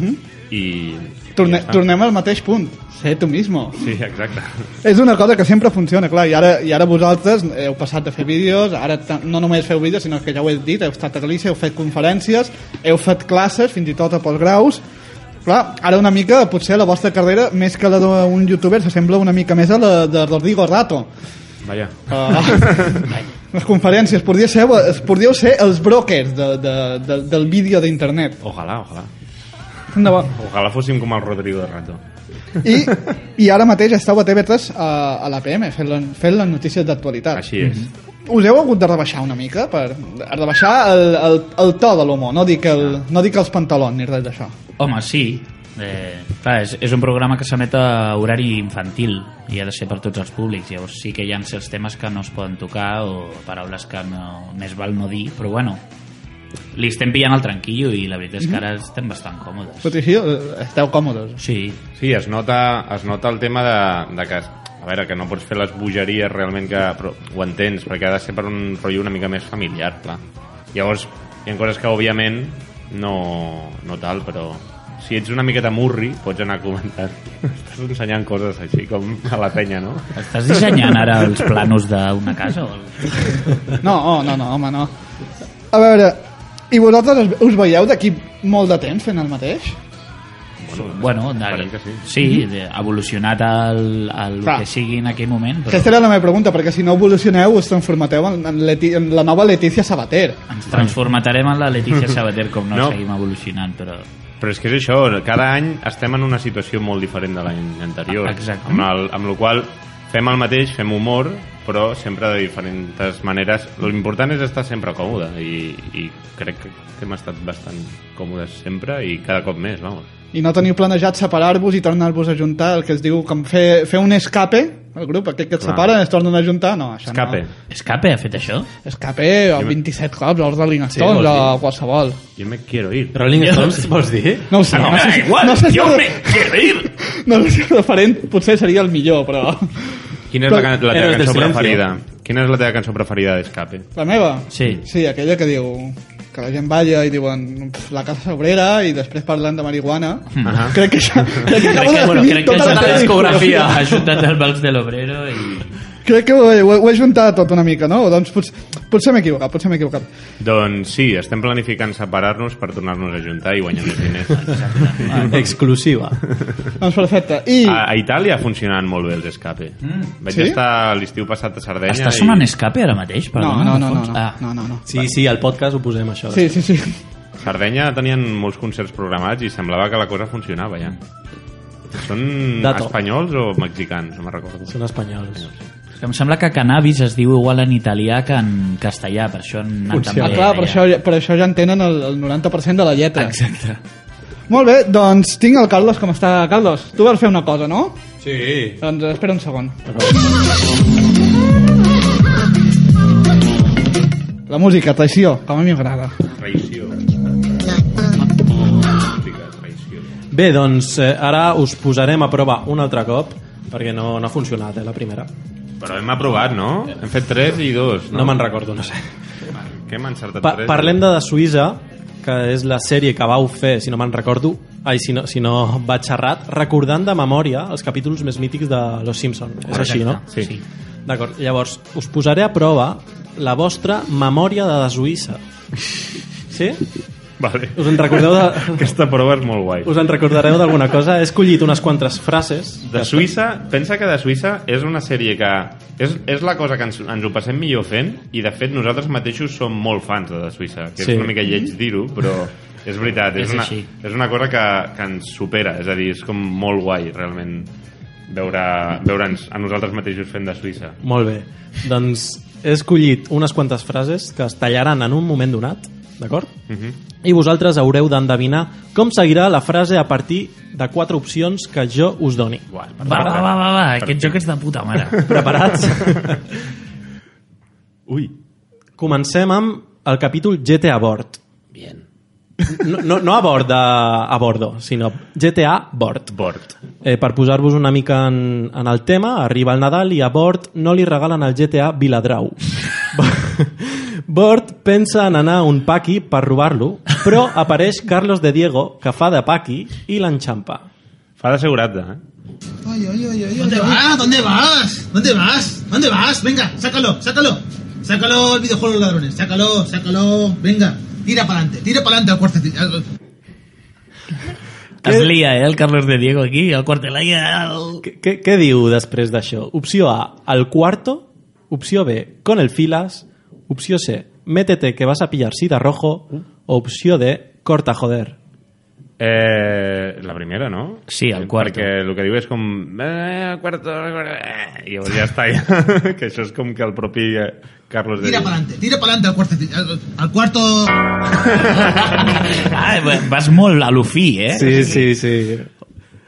Mhm. Torne, i ja està. tornem al mateix punt. Sé tu mismo. Sí, exacte. És una cosa que sempre funciona, clar, i ara, i ara vosaltres heu passat de fer vídeos, ara ta- no només feu vídeos, sinó que ja ho he dit, heu estat a Galícia, heu fet conferències, heu fet classes, fins i tot a postgraus, clar, ara una mica, potser la vostra carrera, més que la d'un youtuber, s'assembla una mica més a la de Rodrigo Rato. Vaja. Ah. les conferències, podríeu ser, podríeu ser els brokers de, de, de, del vídeo d'internet. Ojalà, ojalà. Endavant. Ojalà fóssim com el Rodrigo de Rato. I, i ara mateix esteu a TV3 a, a l'APM fent, la- fent les notícies d'actualitat. Així és. Us heu hagut de rebaixar una mica per rebaixar el, el, el to de l'humor, no dic, el, no dic els pantalons ni res d'això. Home, sí. Eh, clar, és, és un programa que s'emet a horari infantil i ha de ser per tots els públics. Llavors sí que hi ha certs temes que no es poden tocar o paraules que no, més val no dir, però bueno, li estem pillant el tranquillo i la veritat és Mhm. que ara estem bastant còmodes. Tot i així, eh, esteu còmodes. Sí, Sí, es nota, es nota el tema de, de que a veure, que no pots fer les bogeries realment que però ho entens, perquè ha de ser per un rotllo una mica més familiar, clar. Llavors, hi ha coses que, òbviament, no, no tal, però si ets una miqueta murri, pots anar comentant. Estàs ensenyant coses així, com a la penya, no? Estàs dissenyant ara els planos d'una casa? O... No, oh, no, no, home, no. A veure, i vosaltres es- us veieu d'aquí molt de temps fent el mateix? Bueno, Esperem que de, sí. Mhm. sí, de, evolucionat al, al Clar. que sigui en aquell moment. Però... Aquesta era la meva pregunta, perquè si no evolucioneu us transformateu en, en, Leti, en la nova Letícia Sabater. Ens transformatarem en la Letícia Sabater com no, No. no. seguim evolucionant, però... Però és que és això, cada any estem en una situació molt diferent de l'any anterior. Ah, exacte. Amb, el, amb la qual cosa fem el mateix, fem humor, però sempre de diferents maneres. L'important és estar sempre còmode i, i crec que hem estat bastant còmodes sempre i cada cop més, vamos. i no teniu planejat separar-vos i tornar-vos a juntar, el que es diu com fer, fer un escape, el grup aquest que et Clar. separa es tornen a juntar, no, això Escape. no. Escape ha fet això? Escape o 27 cops, o els Rolling vols Stones, dir? o qualsevol. Jo me quiero ir. Rolling Stones, vols dir? No ho Ah, sé, no, sé, si- no sé si el- quiero ir! no sé si el referent potser seria el millor, però... Quina és la, can- la teva Héroes del cançó silencio. preferida? Quina és la teva cançó preferida d'Escape? La meva? Sí. Sí, aquella que diu que la gent balla i diuen "Pf, la casa obrera i després parlant de marihuana. Ahà. Crec que això... Crec que, acabo Crec de que, bueno, definir crec que tota és la una teva discografia ajuntat al Vals de l'Obrero i... Crec que ho he, ho he juntat tot una mica, no? Doncs potser, potser m'he equivocat, potser m'he equivocat. Doncs sí, estem planificant separar-nos per tornar-nos a juntar i guanyar més diners. Exclusiva. Doncs perfecte. I... A, Ah, a Itàlia funcionen molt bé els Escape. Mm. Vaig Sí? estar l'estiu passat a Sardenya Està sonant escape ara mateix? No, Perdona, no, de no, no, fons? no, Ah. no, no, no. Sí, sí, al podcast ho posem, això. Sí, sí, sí. Sardenya tenien molts concerts programats i semblava que la cosa funcionava ja. Són Dato. espanyols o mexicans? No me'n recordo. Són espanyols. És que Em sembla que cannabis es diu igual en italià que en castellà, per això han anat Ah, també clar, per allà. això, per això ja entenen el, el 90% de la lletra. Exacte. Molt bé, doncs tinc el Carlos com està. Carlos, tu vols fer una cosa, no? Sí. Doncs espera un segon. La música, traïció, com a mi m'agrada. Traïció. Música, traïció. Bé, doncs eh, ara us posarem a prova un altre cop, perquè no, no ha funcionat, eh, la primera. Però hem aprovat, no? Hem fet 3 i 2, No, no? me'n recordo, no sé. Què hem encertat? Pa tres? eh? parlem de, de Suïssa, que és la sèrie que vau fer, si no me'n recordo, ai, si no, si no vaig errat, recordant de memòria els capítols més mítics de Los Simpson. És així, no? Sí. sí. D'acord, llavors, us posaré a prova la vostra memòria de la Suïssa. Sí? Vale. Us en recordeu de... Aquesta prova és molt guai. Us en recordareu d'alguna cosa? He escollit unes quantes frases De Suïssa, pensa que de Suïssa és una sèrie que... És, és la cosa que ens, ens ho passem millor fent i, de fet, nosaltres mateixos som molt fans de, de Suïssa, que Sí. sí. és una mica lleig dir-ho, però és veritat, és, Mm. És una, així. és una cosa que, que ens supera, és a dir, és com molt guai, realment, veure, veure'ns a nosaltres mateixos fent de Suïssa. Molt bé. Doncs he escollit unes quantes frases que es tallaran en un moment donat, d'acord? Uh -huh. I vosaltres haureu d'endevinar com seguirà la frase a partir de quatre opcions que jo us doni. Guai, Va, va, va, va, va, aquest joc és de puta mare. Preparats? Ui, Comencem amb el capítol GT a bord. bien. No, no, no a bord, a, a bordo, sinó GTA Bord. Bord. Eh, per posar-vos una mica en, en el tema, arriba el Nadal i a Bord no li regalen el GTA Viladrau. Bord pensa en anar a un paqui per robar-lo, però apareix Carlos de Diego, que fa de paqui, i l'enxampa. Fa d'assegurat, eh? ¿Dónde vas? ¿Dónde vas? ¿Dónde vas? ¿Dónde vas? Venga, sácalo, sácalo. Sácalo el videojuego de los ladrones. Sácalo, sácalo. Venga, tira para adelante, tira para adelante al cuartecito. al- Es lia, eh, el Carlos de Diego aquí, el quarterlaia... Què- Què, què diu després d'això? Opció A, al cuarto. Opció B, con el filas. Opció C, métete que vas a pillar sida rojo. Opció D, corta joder. Eh, la primera, no? Sí, el quarto. Perquè el que diu és com... Eh, el quarto... eh, I llavors ja està. Ja. que això és com que el propi eh, Carlos de... Tira para adelante, tira para adelante al cuartecito. al- Al cuarto. Ah, vas molt a l'ofí, eh? Sí, sí, sí.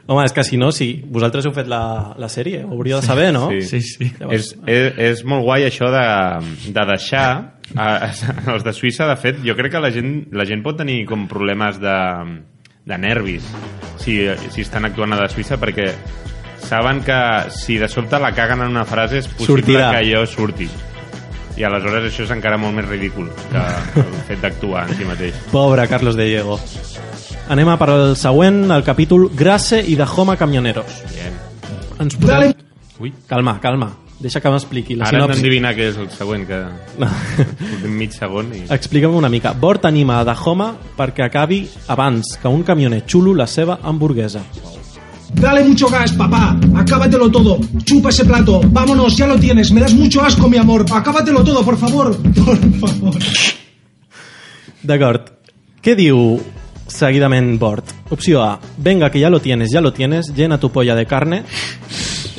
Home, és que si no, si vosaltres heu fet la, la sèrie, ho hauríeu de saber, no? Sí, sí. És, és, és molt guai això de, de deixar a, a, els de Suïssa, de fet, jo crec que la gent, la gent pot tenir com problemes de, de nervis si, si estan actuant a la Suïssa perquè saben que si de sobte la caguen en una frase és possible Sortirà. que allò surti i aleshores això és encara molt més ridícul que el fet d'actuar en si mateix Pobre Carlos de Diego. Anem a per al següent, el capítol Grasse i de Home Camioneros. Bien. Ens posem... Ui. Calma, calma. Deixa que m'expliqui la Ara hem sinopsi. d'endevinar què és el següent que... Portem mig segon i... Explica'm una mica. Bort anima a Dahoma perquè acabi abans que un camioner xulo la seva hamburguesa. Dale mucho gas, papá. Acábatelo todo. Chupa ese plato. Vámonos, ya lo tienes. Me das mucho asco, mi amor. Acábatelo todo, por favor. Por favor. D'acord. Què diu seguidament Bort? Opció A. Venga, que ya lo tienes, ya lo tienes. Llena tu polla de carne.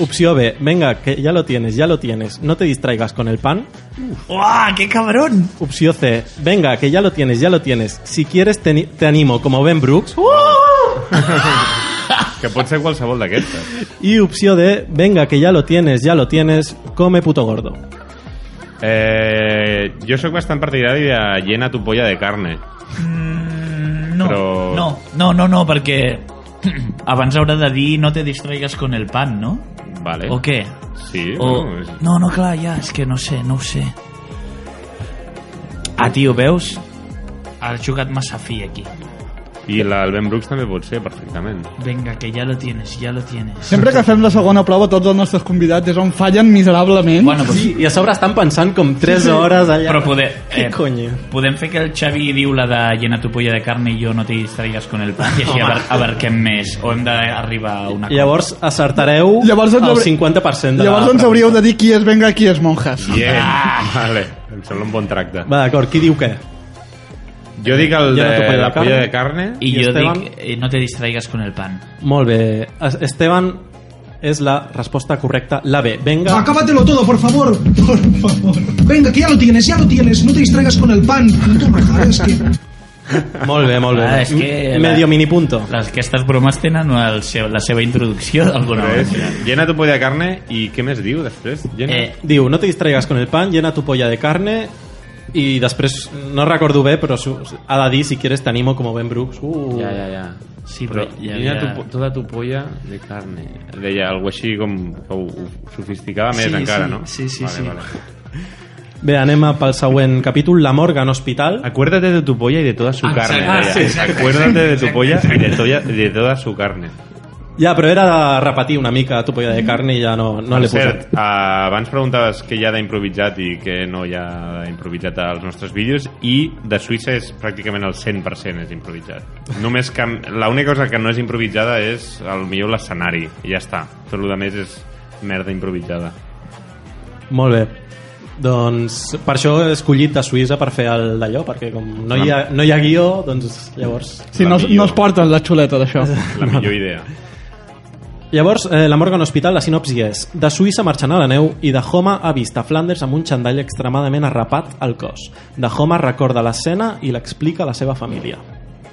Opció B. Venga, que ya lo tienes, ya lo tienes. No te distraigas con el pan. ¡Uah, qué cabrón! Opció C. Venga, que ya lo tienes, ya lo tienes. Si quieres, te, ni- te animo, como Ben Brooks. Que pot ser qualsevol eh? d'aquestes. Y opció D. Venga, que ya lo tienes, ya lo tienes. Come puto gordo. Eh, jo sóc bastant partidari de llena tu polla de carne. No, Però- no, no, no, no, perquè abans haurà de dir no te distraigas con el pan, no? Vale. O què? Sí, O... bueno, és- No, no, clar, ja, és que no sé, no ho sé. Ah, tio, veus? Has jugat massa fi aquí. I la, el Ben Brooks també pot ser, perfectament. Venga, que ya lo tienes, ya lo tienes. Sempre que fem la segona prova, tots els nostres convidats és on fallen miserablement. Bueno, pues- I a sobre estan pensant com 3 hores allà. Però poder, eh, Què coño? podem fer que el Xavi diu la de llena tu polla de carne i jo no te distraigas con el pan i així Home. abar abarquem més o hem d'arribar a una cosa. Llavors acertareu Llavors ens el hauré- 50% de Llavors la ens hauríeu de dir qui és venga i qui és monjas. Bien. Vale, em sembla un bon tracte. Ah. Va, d'acord, qui diu què? Jo dic el de Llena tu polla de la carne. polla de carne. I, I jo Esteban? dic eh, no te distraigas con el pan. Molt bé. Es- Esteban és la resposta correcta, la B. Venga. Acábatelo todo, por favor. Por favor. Venga, que ya lo tienes, ya lo tienes. No te distraigas con el pan. No te rajas, que... Molt bé, molt bé. Ah, és que Mm. M- la- Medio mini punto. Les, aquestes bromes tenen el seu, la seva introducció d'alguna Res. manera. Llena tu polla de carne i què més diu després? Llena... Eh, Diu, no te distraigas con el pan, llena tu polla de carne i després, no recordo bé, però su- ha de dir, si quieres, t'animo com Ben Brooks. Uh. Ja, ja, ja. Sí, Però però hi llena havia- tu, po- toda tu polla de carne. Deia alguna així com que ho, ho sofisticava més Sí, encara, sí, no? sí, sí, vale, sí. Vale. Bé, anem a pel següent capítol, La morga en hospital. Acuérdate de tu polla y de toda su Exacte. carne. deia. Ah, sí, exacte, Acuérdate de tu polla y de, toya- de toda su carne. Ja, però era de repetir una mica tu polla de carne i ja no, no Mm. Per l'he cert, posat. uh, abans preguntaves què hi ha d'improvisat i què no hi ha d'improvisat als nostres vídeos i de Suïssa és pràcticament el 100% és improvisat. Només que l'única cosa que no és improvisada és el millor l'escenari i ja està. Tot el que més és merda improvisada. Molt bé. Doncs per això he escollit de Suïssa per fer el d'allò, perquè com no hi ha, no hi ha guió, doncs llavors... Si la no, millor. no es porten la xuleta d'això. La millor idea. Llavors, eh, la Morgan Hospital, la sinopsi és De Suïssa marxant a la neu i Dahoma ha vist a Flanders amb un xandall extremadament arrapat al cos. Dahoma recorda l'escena i l'explica a la seva família.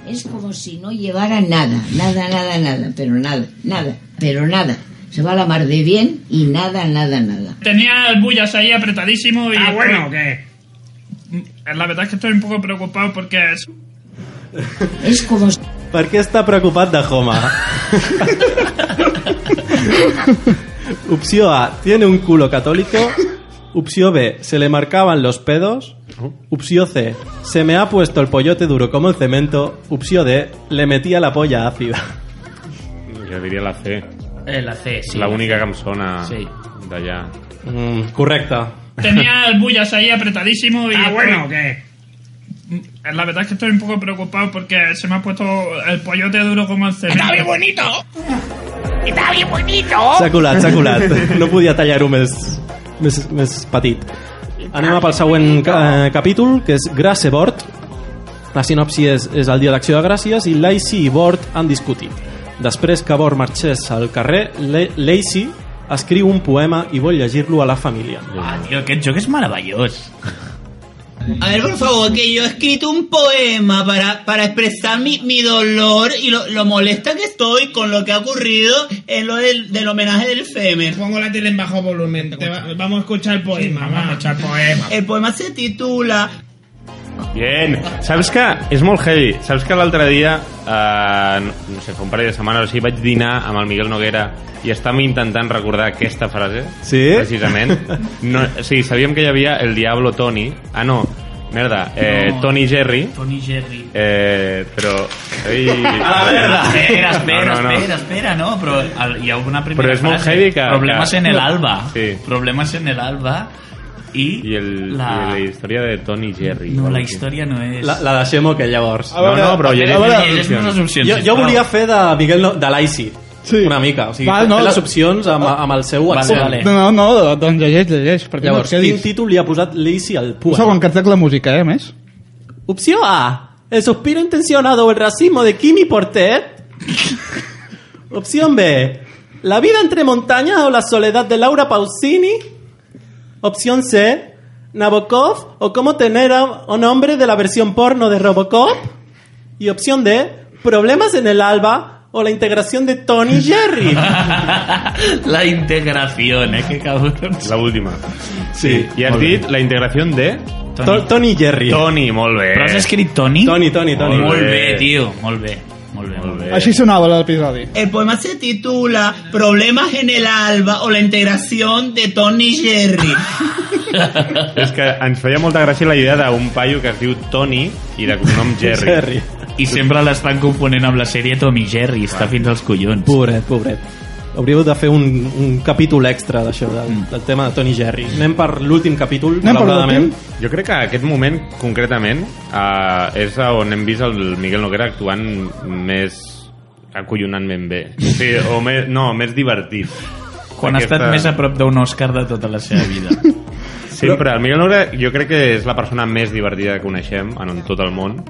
Es como si no llevara nada, nada, nada, nada, pero nada, nada, pero nada. Se va a la mar de bien y nada, nada, nada. Tenía el bullas ahí Ah, pues, apretadísimo y... Ah, bueno, ¿qué? La verdad es que estoy un poco preocupado porque es- Es como si Per què està preocupat de Homa? Opción A, tiene un culo católico. Opción B, se le marcaban los pedos. Opción C, se me ha puesto el pollote duro como el cemento. Opción D, le metía la polla ácida. Jo diria la C. Eh, la C, sí. La única que em sona Sí. d'allà. Mm, correcta. Tenía el bullas ahí apretadísimo y... Ah, bueno, que... La verdad es que estoy un poco preocupado porque se me ha puesto el pollote duro como el cemento. Está bien bonito. Está bien bonito. Oh! S'ha colat, s'ha colat. No podia tallar-ho més, més, més petit. Anem a pel següent eh, capítol, que és Grasse Bord. La sinopsi és, és el dia d'acció de gràcies i Lacey i Bord han discutit. Després que Bord marxés al carrer, Le- Lacey escriu un poema i vol llegir-lo a la família. Ah, tio, aquest joc és meravellós. A ver, por favor, que yo he escrito un poema para, para expresar mi, mi dolor y lo, lo molesta que estoy con lo que ha ocurrido en lo del, del homenaje del Femer. Pongo la tele en bajo volumen. vamos a escuchar el poema. Eh, vamos a escuchar el poema. El poema se titula Bien. Saps que és molt heavy. Saps que l'altre dia, eh, no, no sé, fa un parell de setmanes o així, vaig dinar amb el Miguel Noguera i estàvem intentant recordar aquesta frase. Sí? Precisament. No, o sigui, sabíem que hi havia el Diablo Tony. Ah, no. Merda. Eh, No. Tony Jerry. Tony Jerry. Eh, però... Ei. A la merda. Espera, espera, Ah, No, no, no. espera, espera, no, però el, hi ha alguna primera Però és molt frase. heavy que- Problemes que- en el alba. Sí. Problemes en el alba i, I, el, la... la... i la història de Tony Jerry. No, la història no és... La, la deixem que llavors. A veure, No, no, però llegeix A veure, les opcions. Llegeix les opcions, Jo, jo sisplau. volia fer de Miguel no, de l'Aici. Sí. Una mica. O sigui, Val, Val, no, fer les no. Ah. opcions amb, amb el seu Vale, accent. vale. No, no, no, doncs llegeix, llegeix. Perquè Llavors, no, quin títol li ha posat l'Aici al Un poema? segon, que et trec la música, eh, a més. Opción A. El suspiro intencionado o el racismo de Kimi Portet. Opción B. La vida entre montañas o la soledad de Laura Pausini. Opción C. Nabokov o cómo tener a un hombre de la versión porno de Robocop. Y opción D. Problemas en el alba o la integración de Tony y Jerry. La integració, eh, que cabrons. La última. Sí. I has molt bé. dit la integració de... To- Tony Jerry. Tony, molt bé. Però has escrit Tony? Tony, Tony, Tony. Molt bé, tio, molt bé. Molt bé, molt bé. Així sonava l'episodi. El poema se titula Problemas en el alba o la integración de Tony Jerry. És que ens feia molta gràcia la idea d'un paio que es diu Tony i de cognom Jerry. Jerry. I sempre l'estan confonent amb la sèrie Tommy Jerry, està fins als collons. Pobret, pobret. Hauríeu de fer un, un capítol extra d'això, del, Mm. del tema de Tony Jerry. Anem per l'últim capítol, malauradament. Jo crec que aquest moment, concretament, eh, és on hem vist el Miguel Noguera actuant més acollonantment bé. Sí, o més, no, més divertit. Quan ha estat més a prop d'un Oscar de tota la seva vida. Sempre. El Miguel Noguera jo crec que és la persona més divertida que coneixem en en tot el món.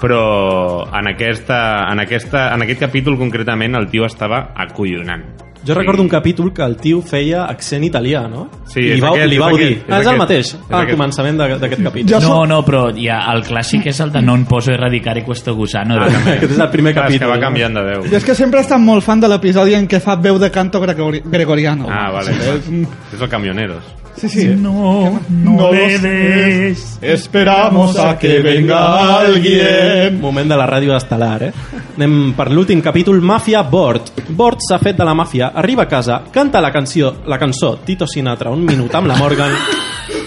Però en, aquesta, en, aquesta, en aquest capítol concretament el tio estava acollonant. Jo recordo un capítol que el tio feia accent italià, no? Sí, I és li vau, aquest, li és vau aquest, dir. és Ah, és el aquest, mateix, és al aquest. començament d'aquest d'aquest capítol. No, no, però ja, el clàssic és el de non poso erradicare questo gusano. Ah, també. Aquest és el primer Clar, és que capítol, va no? canviant de veu. Jo és que sempre he estat molt fan de l'episodi en què fa veu de canto gregori gregoriano. Ah, vale. Sí, és un- És el Camioneros. Sí, sí. No, no debes. Esperamos a que venga alguien. Moment de la ràdio estel·lar, eh? Anem per l'últim capítol, Màfia Bord. Bord s'ha fet de la màfia, arriba a casa, canta la canció, la cançó Tito Sinatra un minut amb la Morgan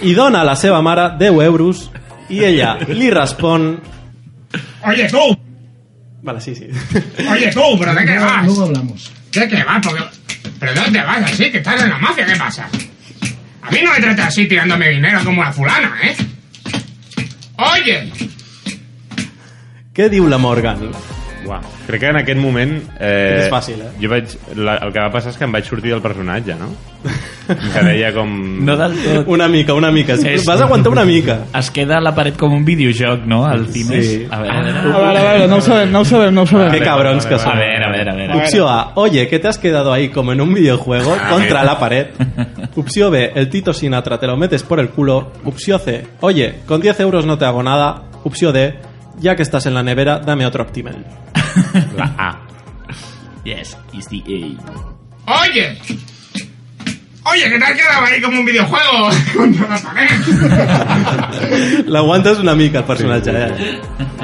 i dona a la seva mare 10 euros i ella li respon... Oye, tú. Vale, sí, sí. Oye, tú, pero ¿de qué Luego- vas? luego hablamos. ¿De qué vas? Porque- ¿Pero dónde vas así? Que estás en la mafia, ¿qué pasa? A mí no me tratas así tirándome dinero como la fulana, ¿eh? Oye, Què diu la Morgan? Uah, crec que en aquest moment... Eh, Aquest és fàcil, eh? Jo vaig, la, el que va passar és que em vaig sortir del personatge, no? Que deia com... No del tot. Una mica, una mica. Sí, vas aguantar una mica. Es queda a la paret com un videojoc, no? El Cines. Sí. A veure, a veure. A veure, a veure, no ho sabem, no ho sabem, no ho sabem. Qué cabrons que son. A ver, a ver, a ver. Opción A. Oye, que te has quedado ahí como en un videojuego A contra ver. la pared. Opción B. El Tito Sinatra te lo metes por el culo. Opción C. Oye, con 10 euros no te hago nada. Opción D. Ya que estás en la nevera, dame otro Optimal. La Ah, A. Yes, is the A. oye. Oye, que te has quedado ahí como un videojuego contra la pared. L'aguantes una mica, el personatge, eh?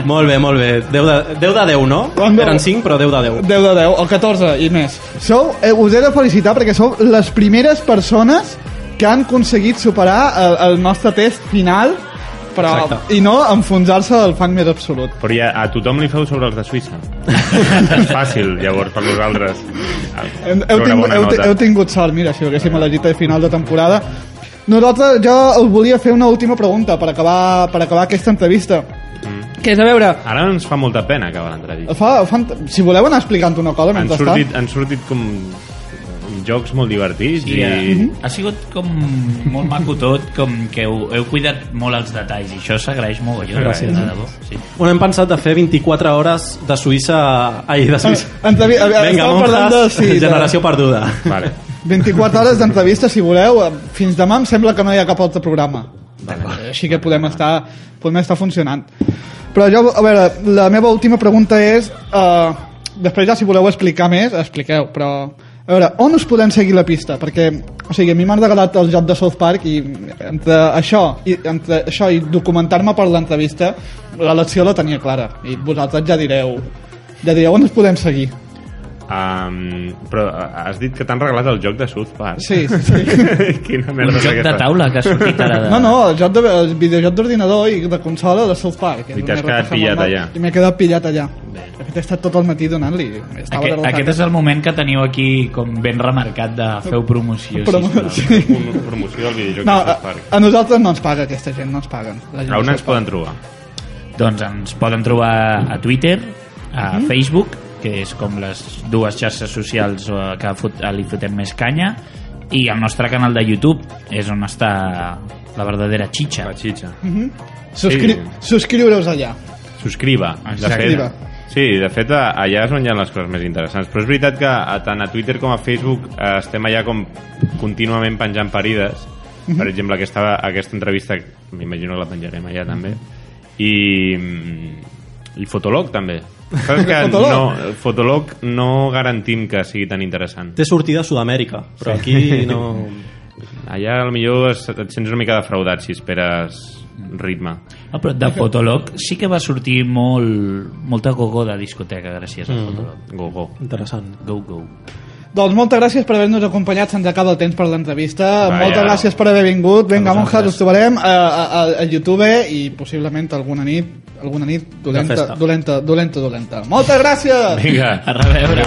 Molt bé, molt bé. 10 de 10, de 10 no? Eren 5, però 10 de 10. 10 de 10, o 14 i més. Sou, eh, us he de felicitar perquè sou les primeres persones que han aconseguit superar el, el nostre test final però, Exacte. i no enfonsar-se del fang més absolut. Però ja a tothom li feu sobre els de Suïssa. és fàcil, llavors, per vosaltres. Hem, Fer heu, una tingut, bona heu, nota. heu tingut sort, mira, si ho haguéssim elegit a final de temporada. Nosaltres, jo us volia fer una última pregunta per acabar, per acabar aquesta entrevista. Què és a veure? Ara ens fa molta pena acabar l'entrevista. Fa, fan, si voleu anar explicant una cosa Han mentrestant. sortit, han sortit com eh, jocs molt divertits Sí, i... eh? ha sigut com molt maco tot, com que heu, heu cuidat molt els detalls i això s'agraeix molt. Jo, Gràcies. De debò, sí. Bueno, hem pensat de fer 24 hores de Suïssa... Ai, de Suïssa. Ah, entrevi- a veure, Vinga, estàvem parlant de- monjas, sí, de- generació perduda. Vale. Mhm. 24 hores d'entrevista, si voleu. Fins demà em sembla que no hi ha cap altre programa. Eh, Així que podem estar, podem estar funcionant. Però jo, a veure, la meva última pregunta és... eh, després ja, si voleu explicar més, expliqueu, però... A veure, on us podem seguir la pista? Perquè, o sigui, a mi m'ha agradat el joc de South Park i entre això i, entre això i documentar-me per l'entrevista, l'elecció la tenia clara. I vosaltres ja direu, ja direu on us podem seguir. Um, però has dit que t'han regalat el joc de South Park. Sí, sí, sí. Quina merda Un joc és aquesta? de taula que ha sortit ara Eh. de- No, no, el, joc de, el videojoc d'ordinador i de consola de South Park. I t'has És un quedat RPG pillat molt- allà. I m'he quedat pillat allà. De fet, he estat tot el matí donant-li. Estava Aquest, derrotant. aquest és el moment que teniu aquí com ben remarcat de feu promoció. Promo- sisplau. sí. Promoció del videojoc No, eh, a, a nosaltres no ens paga aquesta gent, no ens paguen. La gent de South Park. trobar? Doncs ens poden trobar a Twitter, a Mhm. Facebook, que és com les dues xarxes socials eh, que fot, li fotem més canya, i el nostre canal de YouTube és on està la verdadera xitxa. La xitxa. Mhm. Subscri Subscriure-us allà. Subscriba. De fet, Subscriba. sí, de fet, a- allà és on hi ha les coses més interessants. Però és veritat que a, tant a Twitter com a Facebook eh, estem allà com contínuament penjant parides. Mhm. Per exemple, aquesta, aquesta entrevista, m'imagino que la penjarem allà també. I, mm, i Fotolog també. Saps que Fotolog? no, Fotolog no garantim que sigui tan interessant. Té sortida a Sud-amèrica, però aquí no... Allà potser es, et sents una mica defraudat si esperes ritme. Ah, però de Fotolog sí que va sortir molt, molta gogó de discoteca gràcies a Mhm. Fotolog. Gogó. Interessant. Go, go. Doncs moltes gràcies per haver-nos acompanyat, se'ns acaba el temps per l'entrevista. Vaja. Moltes gràcies per haver vingut. Vinga, monjas, us trobarem eh, a, a, a, a YouTube i possiblement alguna nit, alguna nit dolenta, festa. dolenta, dolenta, dolenta. Moltes gràcies! Vinga, a reveure.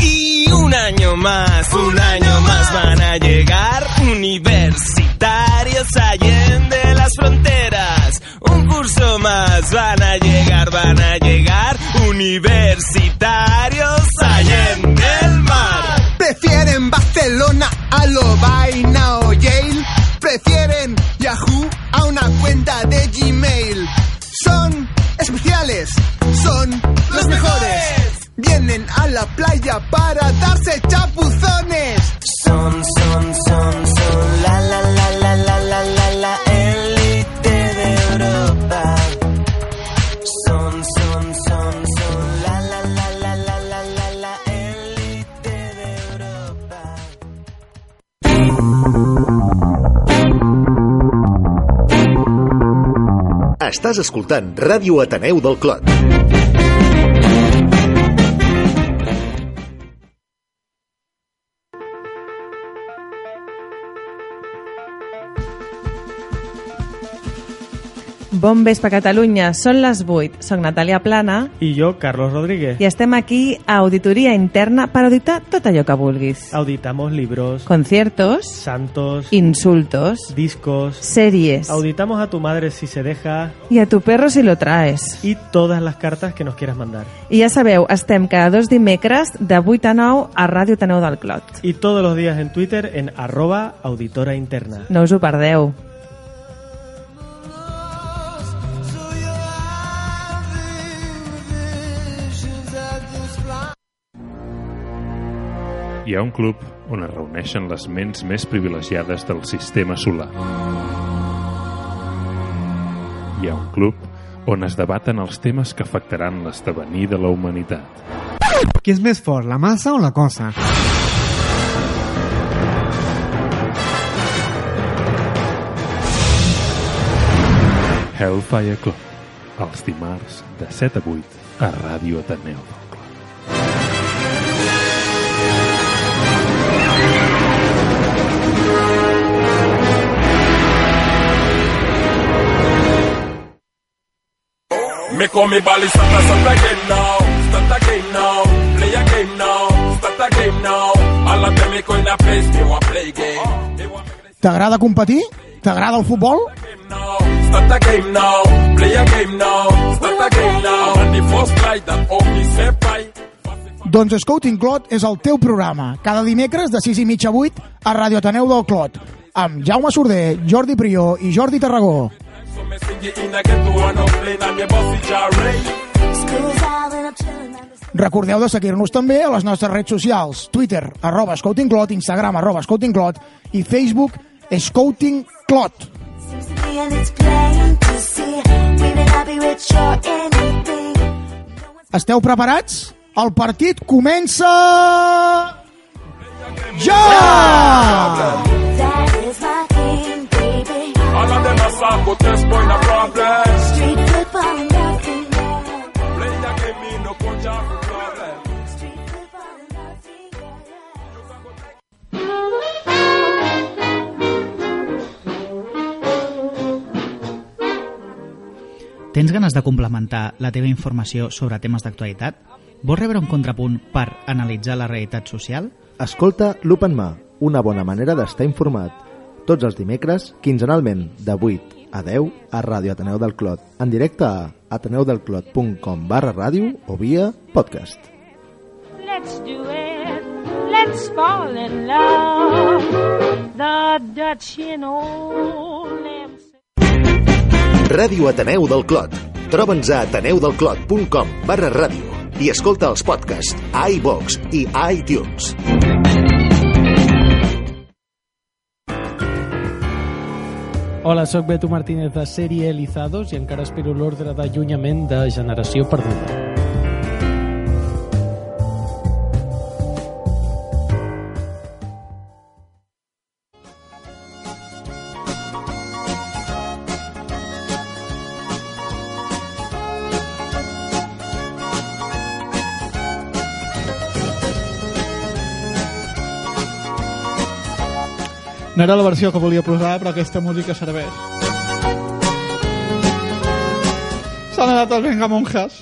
Y un año más, un año más van a llegar universitarios allende las fronteras. Un curso más van a llegar, van a llegar universitarios allende el mar. Prefieren Barcelona a lo vaina o Yale. Prefieren Yahoo a una cuenta de Gmail. Son especiales, son los mejores. Vienen a la playa para darse chapuzones. Son, son, son, son la la la la la la la la élite de Europa. Son, son, son, son la la la la la la la la élite de Europa. Estàs escoltant Ràdio Ateneu del Clot. Bon vespre, Catalunya. Són les 8. Soc Natàlia Plana I jo, Carlos Rodríguez. i estem aquí a Auditoria Interna per auditar tot allò que vulguis. Auditamos libros, Conciertos, santos, insultos, discos, series auditamos a tu madre si se deja i a tu perro si lo traes. y todas las cartas que nos quieras mandar. I ja sabeu, estem cada dos dimecres de 8 a 9 a Ràdio Taneu del Clot. Y todos los días en Twitter en arroba auditora interna. No us ho perdeu. Visions of this fly. hi ha un club on es reuneixen les ments més privilegiades del sistema solar. Hi ha un club on es debaten els temes que afectaran l'esdevenir de la humanitat. Qui és més fort, la massa o la cosa? Hellfire Club, els dimarts de 7 a 8 a Ràdio Ateneu. Me call me Bali Santa, start the game now. Start the game now. Play a game now. Start the game now. All of them me going to place. They want play game. They want T'agrada competir? T'agrada el futbol? start the game now. Play a game now. Start the game now. And the first flight that only separate. Doncs Scouting Clot és el teu programa. Cada dimecres de 6 i mitja a 8 a Radio Ateneu del Clot. Amb Jaume Sorder, Jordi Prió i Jordi Tarragó. Me sing it in I get to one of plane and me bust it jarray. Recordeu de seguir-nos també a les nostres redes socials. Twitter, arroba Scouting Clot, Instagram, arroba Scouting Clot i Facebook, Scouting Clot. Esteu preparats? El partit comença... Ja! All of them are sad, but there's point of problem. Play a game, me no coach out for problem. Tens ganes de complementar la teva informació sobre temes d'actualitat? Vols rebre un contrapunt per analitzar la realitat social? Escolta l'Open Ma, una bona manera d'estar informat. Tots els dimecres, quinzenalment, de 8 a 10 a Ràdio Ateneu del Clot, en directe a ateneudelclot.com barra ràdio o via podcast. Let's do it. Let's fall in love. The Dutch in old Amsterdam. Ràdio Ateneu del Clot. Troba'ns a ateneudelclot.com barra ràdio i escolta els podcasts a iVox i a iTunes. Hola, sóc Beto Martínez de Sèrie Elizados i encara espero l'ordre d'allunyament de Generació Perduda. No era la versió que volia posar, però aquesta música serveix. S'han anat els Venga Monjas.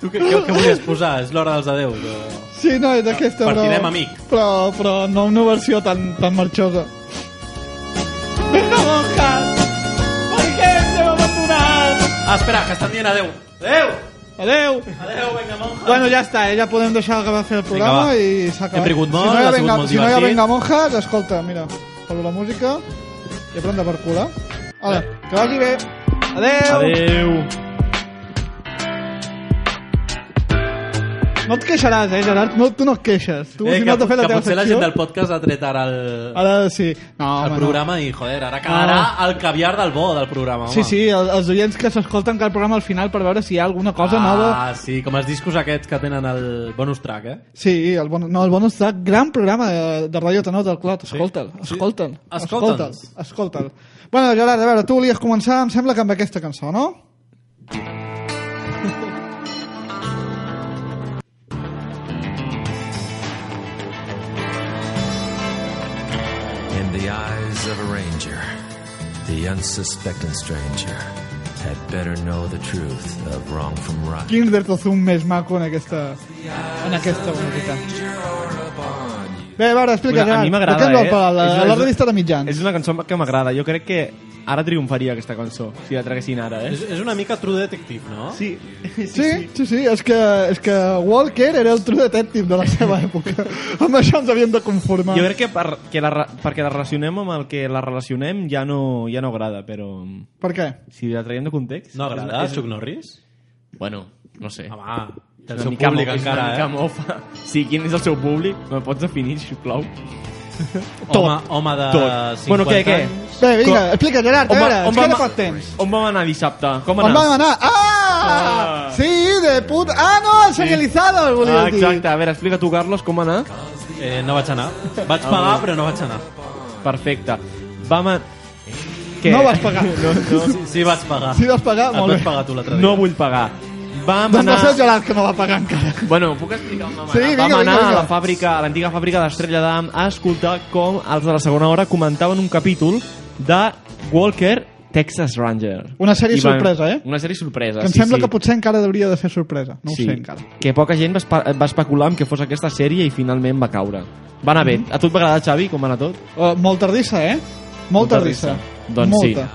Tu què, què, què volies posar? És l'hora dels adeus. O... Sí, no, és d'aquesta, però... Partirem amic. Però, però no una versió tan, tan marxosa. Venga Monjas, per què ens hem abandonat? Ah, espera, que estan dient adeu. Adeu! Adeu! Adeu, vinga, monja. Bueno, ja està, eh? ja podem deixar que va fer el programa va. i s'ha acabat. Hem rigut molt, si no hi ha ha sigut venga, molt si no hi ha divertit. venga monjas, escolta, mira, per la música i a prendre per cul, eh? Hola, que vagi bé. Adeu! Eh, Adeu! No et queixaràs, eh, Gerard? No, tu no et queixes. Tu, Eh, si que, no t'ha fet la que teva potser la secció... gent del podcast ha tret ara el, Ara sí. No, el home, programa i, joder, ara quedarà el caviar del bo del programa, No. home. Sí, sí, el, els oients que s'escolten cada programa al final per veure si hi ha alguna cosa ah, nova. sí, com els discos aquests que tenen el bonus track, eh? Sí, el bon, no, el bonus track, gran programa eh, de, de Radio Tenor del Clot. Escolta'l, Sí. escolta'l, escolta'l, Escolta'ns. escolta'l. Bueno, Gerard, a veure, tu volies començar, em sembla que amb aquesta cançó, no? In the eyes of a ranger, the unsuspecting stranger had better know the truth of wrong from Ah. right. Quin dertozum més maco en aquesta, en aquesta música. Bé, a veure, explica, Mira, a Gerard. mi de m'agrada, què és eh? la, És la, una- la revista de mitjans. És una cançó que m'agrada. Jo crec que ara triomfaria aquesta cançó, si la traguessin ara, eh? És, és una mica True Detective, no? Sí. Sí, sí, sí, sí, és que, és que Walker era el true detective de la seva època. amb això ens havíem de conformar. Jo crec que, per, que la, re- perquè la relacionem amb el que la relacionem ja no, ja no agrada, però... Per què? Si la traiem de context... No agrada, és- és- Chuck Norris? Bueno, no sé. Home, Del seu públic encara, eh? mofa. Sí, quin és el seu públic? Me pots definir, sisplau? Home, home de 50 Bueno, què, què? anys. Bé, vinga, explica, Gerard, a veure, ens queda poc temps. On vam anar dissabte? Com On anar? vam anar? Ah! Sí, de puta... Ah, no, el serialitzado, el volia Ah, dir. exacte. A veure, explica tu, Carlos, com va anar? Eh, no vaig anar. Vaig pagar, però no vaig anar. Perfecte. Vam a... No vas pagar. No, no. Sí, sí vaig pagar. Sí, vas pagar? Et Molt vas bé. pagar tu l'altre dia. No vull pagar. Vam Doncs va anar... ser el Gerard que no va pagar encara. Bueno, puc explicar on vam Sí, anar? vinga, vam anar vinga, vinga. a la fàbrica, a l'antiga fàbrica d'Estrella d'Am a escoltar com els de la segona hora comentaven un capítol de Walker Texas Ranger. Una sèrie I van- sorpresa, eh? Una sèrie sorpresa, Que em sí, sembla sí. que potser encara hauria de ser sorpresa. No ho sí. sé encara. Que poca gent va, espe va especular amb que fos aquesta sèrie i finalment va caure. Va anar bé. Mhm. A tu et va agradar, Xavi, com va anar tot? Uh, molt tardissa, eh? Molt tardissa. Doncs Molta.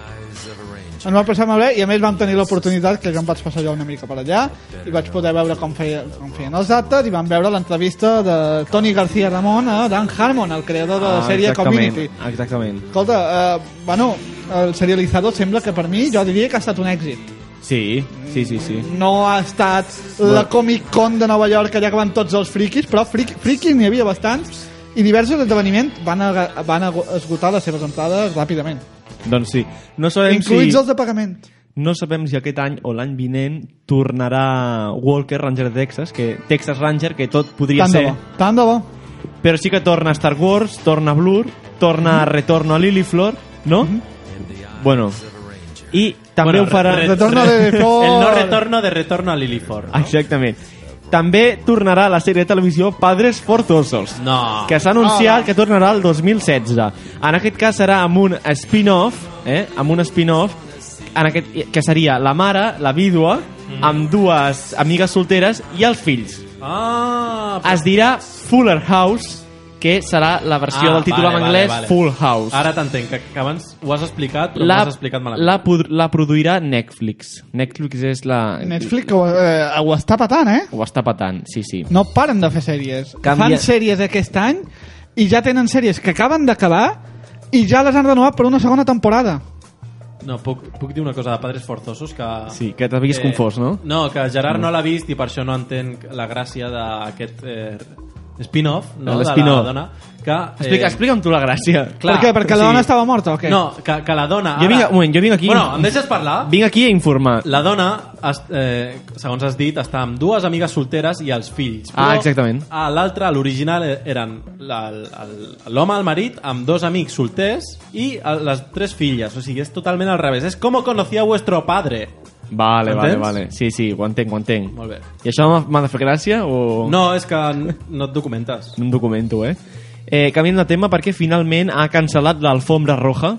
Ens va passar molt bé i a més vam tenir l'oportunitat que em vaig passar jo una mica per allà i vaig poder veure com, feia, com feien els actes i vam veure l'entrevista de Toni García Ramon a Dan Harmon, el creador de la Ah, sèrie exactament, Community. Exactament. Escolta, uh, bueno, el serialitzador sembla que per mi jo diria que ha estat un èxit. Sí, sí, sí, sí. No ha estat la Comic Con de Nova York allà que van tots els friquis, però friqui, friqui n'hi havia bastants i diversos esdeveniments van, a, van a esgotar les seves entrades ràpidament. Doncs sí. No sabem Incluïts si... els de pagament. No sabem si aquest any o l'any vinent tornarà Walker Ranger de Texas, que Texas Ranger, que tot podria Tant de ser... bo, tant de bo. Però sí que torna Star Wars, torna Blur, torna Retorno a Liliflor, no? Bueno, i també ho farà... re- re- El no retorno de retorno a Lilifor. Ah. Exactament. També tornarà la sèrie de televisió Padres Fortosos, No. que s'ha anunciat que tornarà el 2016. En aquest cas serà amb un spin-off, eh? amb un spin-off en aquest, que seria la mare, la vídua, Mm. amb dues amigues solteres i els fills. Ah, Es dirà Fuller House, que serà la Ah, versió del títol en anglès Full House. Ara t'entenc, que, que abans ho has explicat, però la, ho has explicat malament. la, pod- la produirà Netflix. Netflix és la... Netflix ho, eh, ho està patant, eh? Ho està patant, sí, sí. No paren de fer sèries. Canvia- Fan sèries aquest any i ja tenen sèries que acaben d'acabar i ja les han renovat per una segona temporada. No, puc, puc dir una cosa de Padres Forzosos que... Eh, Sí, que t'havies confós, no? Mm. No, que Gerard no l'ha vist i per això no entenc la gràcia d'aquest eh, spin-off, no? De la L'spin-off. dona. Que, Explica, explica'm tu la gràcia. Clar, Per què? Perquè la dona estava morta o què? No, que, que la dona... Jo vinc, un moment, jo vinc aquí... Bueno, em deixes Ah. parlar? Vinc aquí a informar. La dona, es, eh, segons has dit, està amb dues amigues solteres i els fills. Ah, exactament. A l'altre, a l'original, eh, eren la- el- l'home, el marit, amb dos amics solters i eh, les tres filles. O sigui, és totalment al revés. És com conocía vuestro padre. Vale, vale, Entens? vale. Sí, sí, ho entenc, ho entenc. Molt bé. I això m'ha- m'ha de fer gràcia o...? No, és que n- no et documentes. No em documento, eh? eh canviem de tema perquè finalment ha cancel·lat l'alfombra roja.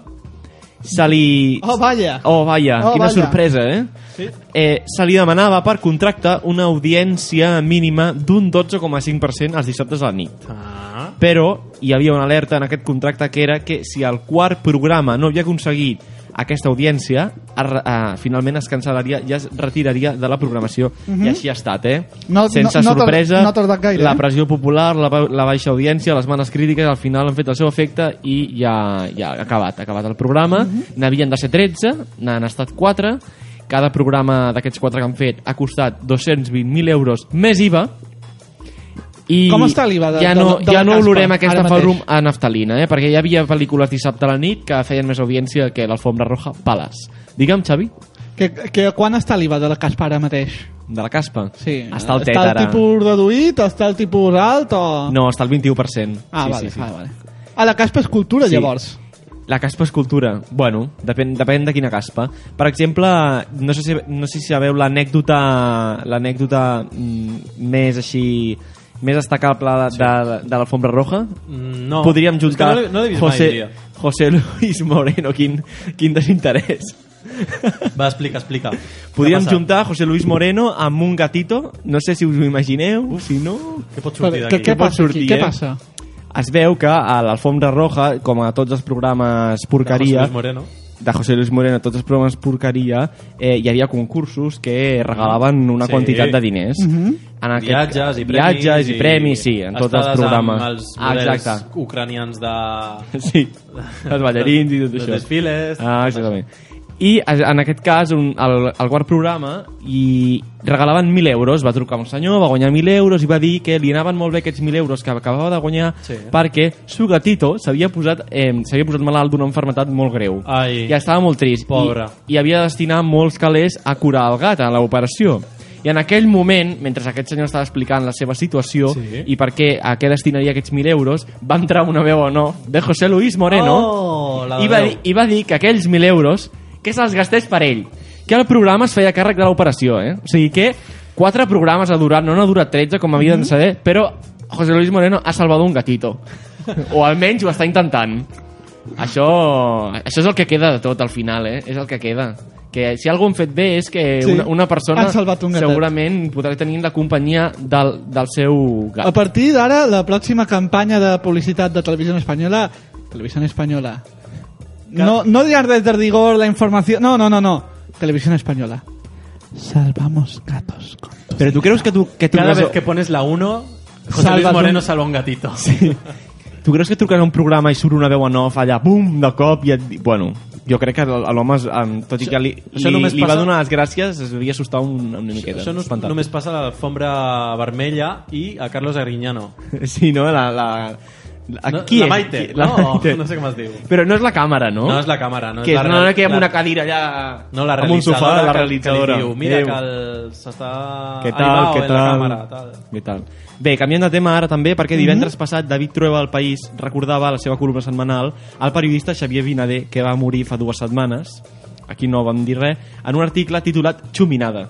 Se li... Oh, vaya. Oh, vaya, Oh, quina vaya. sorpresa, eh? Sí. eh? Se li demanava per contracte una audiència mínima d'un 12,5% els dissabtes a la nit. Ah. Però hi havia una alerta en aquest contracte que era que si el quart programa no havia aconseguit aquesta audiència, es, re- eh, finalment es cancel·laria i es retiraria de la programació. Mhm. I així ha estat, eh? No- Sense no- no ha tar- sorpresa, no ha tardat gaire, la eh? pressió popular, la, ba- la baixa audiència, les males crítiques, al final han fet el seu efecte i ja, ja ha acabat, ha acabat el programa. Mhm. N'havien de ser 13, n'han estat 4, cada programa d'aquests 4 que han fet ha costat 220.000 euros més IVA, i Com està l'IVA de- ja de- no, de la ja no caspa, olorem ara aquesta mateix? farum a naftalina, eh? perquè hi havia pel·lícules dissabte a la nit que feien més audiència que l'Alfombra Roja Palace. Digue'm, Xavi, Que, que quan està l'IVA de la caspa ara mateix? de la caspa. Sí. Està al tet, Està el ara. tipus reduït? Està el tipus alt o...? No, està al 21%. Ah, sí, vale, sí, sí. vale, vale. Ah, la caspa és cultura, Sí. llavors. La caspa és cultura. Bueno, depèn, depèn de quina caspa. Per exemple, no sé si, no sé si sabeu l'anècdota l'anècdota mm, més així més destacable de, de, de l'alfombra roja Mm, no. podríem És que juntar no l'he- no l'he vist mai, José, diria. José Luis Moreno quin, quin desinterès Va, explica, explica. podríem Què ha juntar José Luis Moreno amb un gatito no sé si us ho imagineu si no Què pot sortir Però, què- d'aquí? què Què pot passa aquí? sortir, Què eh? passa? es veu que a l'Alfombra Roja com a tots els programes porqueria José Luis Moreno. de José Luis Moreno, tots els programes porqueria, eh, hi havia concursos que regalaven una Ah, Sí. quantitat de diners. Mhm. en aquest, Viatges i premis. Ah, Viatges i, premis, sí, en tots els estades programes. Amb els Ah, models Exacte. ucranians de... Sí, els ballarins i tot dels això. desfiles. Ah, exactament. I a- en aquest cas, un, el, el quart programa, i regalaven 1.000 euros. Va trucar un senyor, va guanyar 1.000 euros i va dir que li anaven molt bé aquests 1.000 euros que acabava de guanyar Sí. perquè su gatito s'havia posat, eh, s'havia posat malalt d'una malaltia molt greu. Ah, Ai. I estava molt trist. Pobre. I, I havia de destinar molts calés a curar el gat, a l'operació. I en aquell moment, mentre aquest senyor estava explicant la seva situació Sí. i per què, a què destinaria aquests 1.000 euros, va entrar una veu o no de José Luis Moreno Oh, la i, va veu. dir, i va dir que aquells 1.000 euros que se'ls gastés per ell. Que el programa es feia càrrec de l'operació, eh? O sigui que quatre programes ha durat, no n'ha durat 13, com Mm. havia de saber, però José Luis Moreno ha salvat un gatito. o almenys ho està intentant. Això, això és el que queda de tot al final, eh? És el que queda. Que si algú hem fet bé és que Sí. una, una persona Han salvat un gatet. segurament podrà tenir la companyia del, del seu gat. A partir d'ara, la pròxima campanya de publicitat de Televisió Espanyola... Televisió Espanyola. No, no diràs des de rigor la informació... No, no, no, no. Televisió Espanyola. Salvamos gatos. Pero tú crees que tú... Que tú Cada vas a- vez que pones la 1, José Salvas Luis Moreno un- salva un gatito. Sí. Tu creus que truquen a un programa i surt una veu en off allà, bum, de cop, i et... di- Bueno, jo crec que l- a l'home, es- em, tot i que li, Això li, només li va passa- donar les gràcies, es devia assustar un, una miqueta. Això no, espantat. només passa a l'alfombra vermella i a Carlos Agriñano. Sí, no? La... la... la- No, qui la és? Maite. Qui- la No, Maite. no sé com es diu. Però no és la càmera, no? No és la càmera, no és que la és una real- nona que amb la- una cadira allà... No, la amb un realitzadora sofà, la que- realitzadora. Que li diu, mira Adéu. que el- s'està... Què Ahí tal, va, què en la tal? càmera, tal. Mhm. Què tal? Bé, canviant de tema ara també, perquè divendres passat David Trueba al País recordava a la seva columna setmanal el periodista Xavier Vinader, que va morir fa dues setmanes, aquí no vam dir res, en un article titulat Xuminada.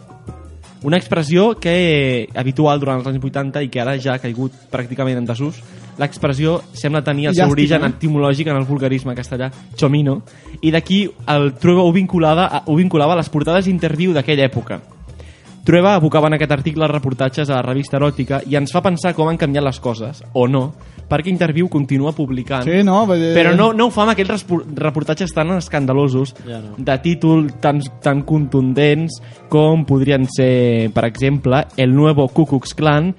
Una expressió que eh, habitual durant els anys 80 i que ara ja ha caigut pràcticament en desús, l'expressió sembla tenir el seu Llàstima. eh? origen etimològic en el vulgarisme castellà, chomino, i d'aquí el Trueba ho, vinculada a, ho vinculava a les portades d'interviu d'aquella època. Trueba abocava en aquest article reportatges a la revista eròtica i ens fa pensar com han canviat les coses, o no, perquè Interviu continua publicant. Sí, eh. no, vull dir- Ah. Però no, no ho fa amb aquells respo- reportatges tan escandalosos, Ja no. de títol tan, tan contundents com podrien ser, per exemple, El Nuevo Ku Klux Klan,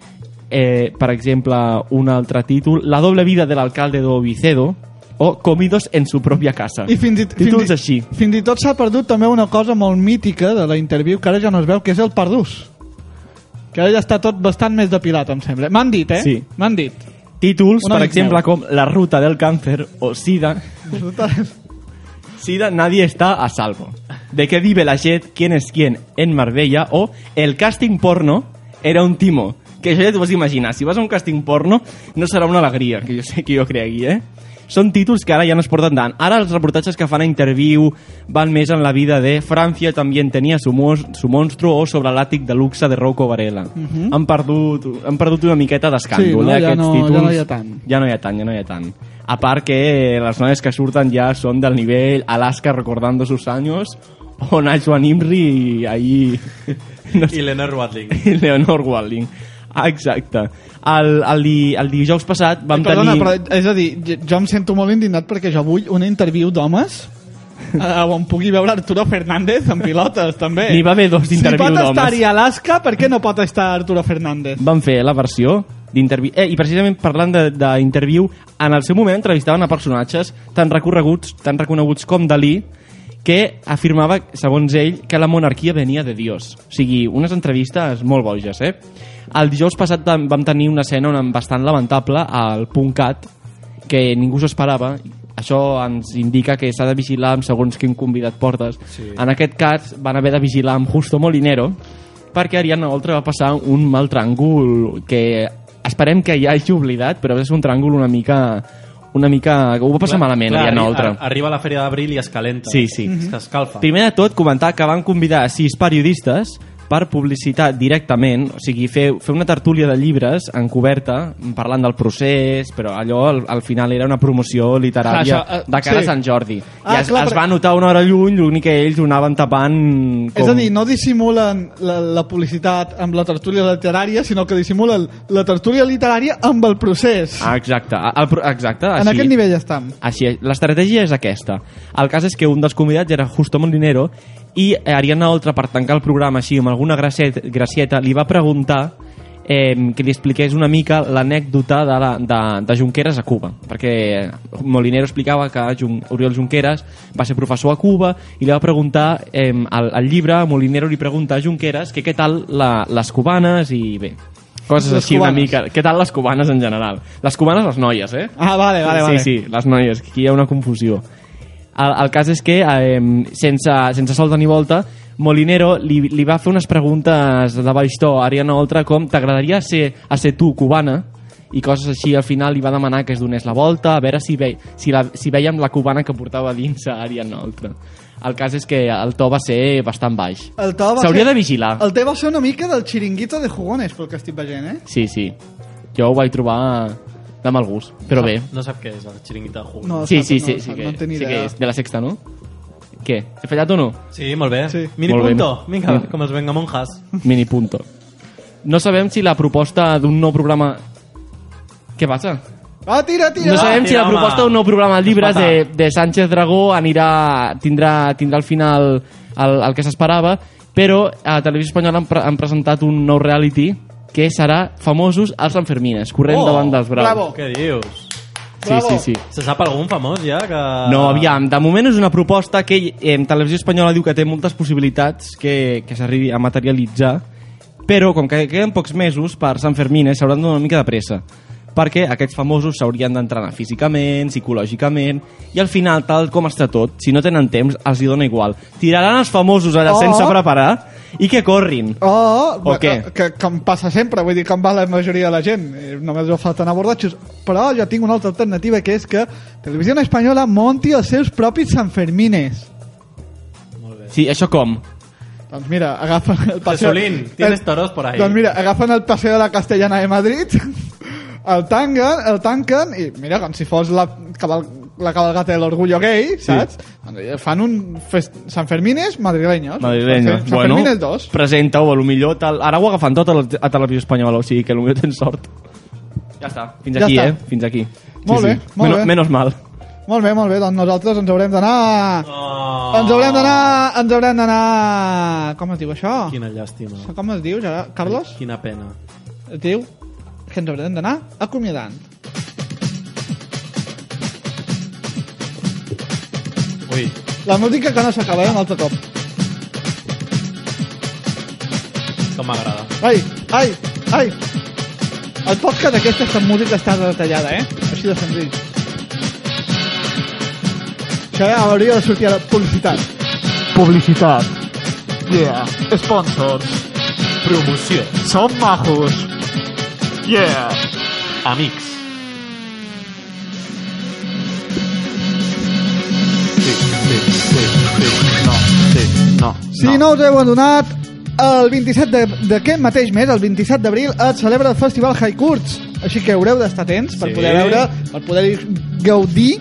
eh, per exemple, un altre títol, La doble vida de l'alcalde d'Ovicedo, o Comidos en su propia casa. I fins i, Títols fins i, així. fins i tot s'ha perdut també una cosa molt mítica de la interview que ara ja no es veu, que és el perdús. Que ara ja està tot bastant més depilat, em sembla. M'han dit, eh? Sí. M'han dit. Títols, Un per amic exemple, meu. com La ruta del càncer o Sida. Sida, nadie está a salvo. De qué vive la Jet, quién es quién en Marbella o El casting porno era un timo. Que això ja t'ho vas imaginar. Si vas a un casting porno no serà una alegria, que jo sé que jo cregui, eh? Són títols que ara ja no es porten tant. Ara els reportatges que fan a interviu van més en la vida de Francia també tenia su, mos, su monstruo o sobre l'àtic de luxe de Rocco Varela. Mhm. han, perdut, han perdut una miqueta d'escàndol Sí, no? escàndol, eh, Ja aquests no- títols. ja no hi ha tant. Ja no hi ha tant, ja no hi ha tant. A part que eh, les noies que surten ja són del nivell Alaska recordando sus años o Nacho Imri i ahí... No sé. I l'Ener Watling. I Leonor Walling. Ah, exacte. El, el, di, el dijous passat vam Perdona, tenir... però, és a dir, jo- jo em sento molt indignat perquè jo vull una interview d'homes eh, on pugui veure Arturo Fernández en pilotes, també. N'hi va haver dos d'interview eh, Si pot d'homes. estar-hi a Alaska, per què no pot estar Arturo Fernández? Van fer la versió d'interviu. Eh, I precisament parlant d'interviu, en el seu moment entrevistaven a personatges tan recorreguts, tan reconeguts com Dalí, que afirmava, segons ell, que la monarquia venia de Dios. O sigui, unes entrevistes molt boges, eh? El dijous passat tam- vam tenir una escena on- bastant lamentable al punt cat que ningú s'ho esperava. Això ens indica que s'ha de vigilar amb segons quin convidat portes. Sí. En aquest cas van haver de vigilar amb Justo Molinero perquè Ariadna Oltra va passar un mal tràngol que esperem que ja hagi oblidat, però és un tràngol una mica... Una mica... Ho va passar malament, Ariadna arri- Oltra. ar- Arriba la feria d'abril i es calenta. Sí, sí. Es que escalfa. Primer de tot, comentar que van convidar sis periodistes per publicitar directament, o sigui, fer, fer una tertúlia de llibres encoberta, parlant del procés, però allò al, al final era una promoció Clar, literària això, eh, de cara sí. a Sant Jordi. Ah, I es, clar, es perquè- va notar una hora lluny, l'únic que ells ho anaven tapant... Com... És a dir, no dissimulen la, la publicitat amb la tertúlia literària, sinó que dissimulen la tertúlia literària amb el procés. Ah, exacte, el, pro- exacte. en així- aquest nivell estem. Així és. L'estratègia és aquesta. El cas és que un dels convidats era Justo Molinero eh, i Ariadna Oltra, per tancar el programa així amb alguna gracieta, gracieta li va preguntar eh, que li expliqués una mica l'anècdota de, la, de, de Junqueras a Cuba, perquè eh, Molinero explicava que Jun, Oriol Junqueras va ser professor a Cuba i li va preguntar, eh, al, al llibre, Molinero li pregunta a Junqueras que què tal la, les cubanes i bé, coses Les així una cubanes. mica. Què tal les cubanes en general? Les cubanes, les noies, eh? Ah, vale, vale, vale. Sí, sí, les noies, que aquí hi ha una confusió. El, el cas és que, eh, sense, sense solta ni volta, Molinero li, li va fer unes preguntes de baix to a Ariana Oltra com t'agradaria ser, a ser tu cubana? i coses així, al final li va demanar que es donés la volta, a veure si, ve, si, la, si veiem la cubana que portava dins a Ariana Oltra. El cas és que el to va ser bastant baix. El to va S'hauria ser- de vigilar. El te va ser una mica del xiringuito de jugones, pel que estic veient, eh? Sí, sí. Jo ho vaig trobar de mal gust, però Ah. No bé. sap- No sap què és la xiringuita Hulk. sí, sí, sí, sí, que, sí que és de la sexta, no? Què? He fallat o no? Sí, molt bé. Sí. Mini Molt bé. Mm. punto. Vinga, com els vengamonjas. Mini punto. No sabem si la proposta d'un nou programa... Què passa? Ah, tira, tira! No sabem si la Tira, home. proposta d'un nou programa de llibres Espata. de, de Sánchez Dragó anirà, tindrà, tindrà al final el, el que s'esperava, però a Televisió Espanyola han, pre han presentat un nou reality que serà Famosos als Sanfermines, Oh, corrent davant dels braus. Què dius? Sí, Bravo. sí, sí. Se sap algun famós ja que... Ah. No, aviam, de moment és una proposta que eh, Televisió Espanyola diu que té moltes possibilitats que, que s'arribi a materialitzar, però com que queden pocs mesos per Sant Fermín eh, s'hauran d'una mica de pressa perquè aquests famosos s'haurien d'entrenar físicament, psicològicament, i al final, tal com està tot, si no tenen temps, els hi dona igual. Tiraran els famosos allà Oh. sense preparar i que corrin. Oh, O què? Que, que, em passa sempre, vull dir que em va la majoria de la gent, eh, només ho falten abordatges, però jo tinc una altra alternativa que és que Televisió Espanyola monti els seus propis Sanfermines. Sí, això com? Doncs mira, agafen el paseo... Eh, Jesulín, tienes toros por ahí. Doncs mira, agafen el paseo de la Castellana de Madrid, el tanquen, el tanquen, i mira, com si fos la, cabal, la cabalgata de l'orgullo gay, saps? Doncs, eh, Fan un fest... Sanfermines madrileños. Madrileño. Sanfer- Bueno, Sanfermines 2. presenta-ho, a lo millor... Tal... Ara ho agafen tot a la, a Televisió Espanyola, o sigui que a lo millor tens sort. Ja està. Fins Ja aquí, està. eh? Fins aquí. Molt bé, molt menos, bé. Menos mal. Molt bé, molt bé, doncs nosaltres ens haurem d'anar... Ah. Ens haurem d'anar... Ens haurem d'anar... Com es diu això? Quina llàstima. Com es diu, Gerard? Carlos? Quina pena. Es diu que ens haurem d'anar acomiadant. Ui. La música que no s'acaba, eh, un altre cop. Com m'agrada. Ai, ai, ai! El podcast d'aquesta és que amb música està detallada, eh? Així de senzill. Això eh, hauria de sortir a la publicitat. Publicitat. Yeah. Sponsors. Promoció. Som majos. Yeah. Amics. Sí, sí, sí, sí, no, sí, no. Si no, us heu adonat, el 27 de- d'aquest mateix mes, el 27 d'abril, es celebra el Festival High Curts. Així que haureu d'estar atents per Sí. poder veure, per poder gaudir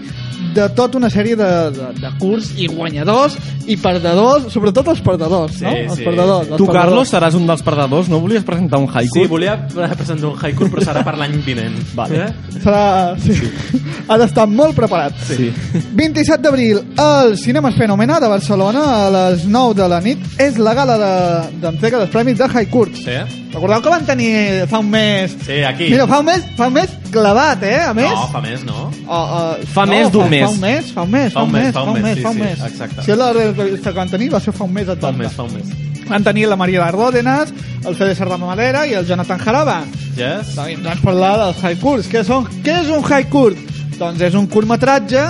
de tota una sèrie de, de, de curts i guanyadors i perdedors, sobretot els perdedors, no? Sí, Els sí. perdedors. els Tu, perdedors. Carlos, seràs un dels perdedors, no volies presentar un haiku? Sí, volia presentar un haiku, però serà per l'any vinent. Vale. Serà... Sí. Ha d'estar molt preparat. Sí. 27 d'abril, al Cinema Fenomena de Barcelona, a les 9 de la nit, és la gala de- d'entrega de, dels premis de High Court. Eh? Sí? Recordeu que van tenir fa un mes... Sí, aquí. Mira, fa un mes, fa un mes clavat, eh? A més... No, fa més, no? O, o, Fa més d'un Fa mes. un mes, fa un mes, fa un mes, fa un mes, sí, fa un sí, mes. exacte. Si és la revista que van tenir, va ser fa un mes exacte. Fa un mes, fa un mes. Van tenir la Maria Ardòdenas, el Fede Sardama Madera i el Jonathan Jaraba. Yes? Doncs Vam parlar dels high curts. Què, són? Què és un high curt? Doncs és un curtmetratge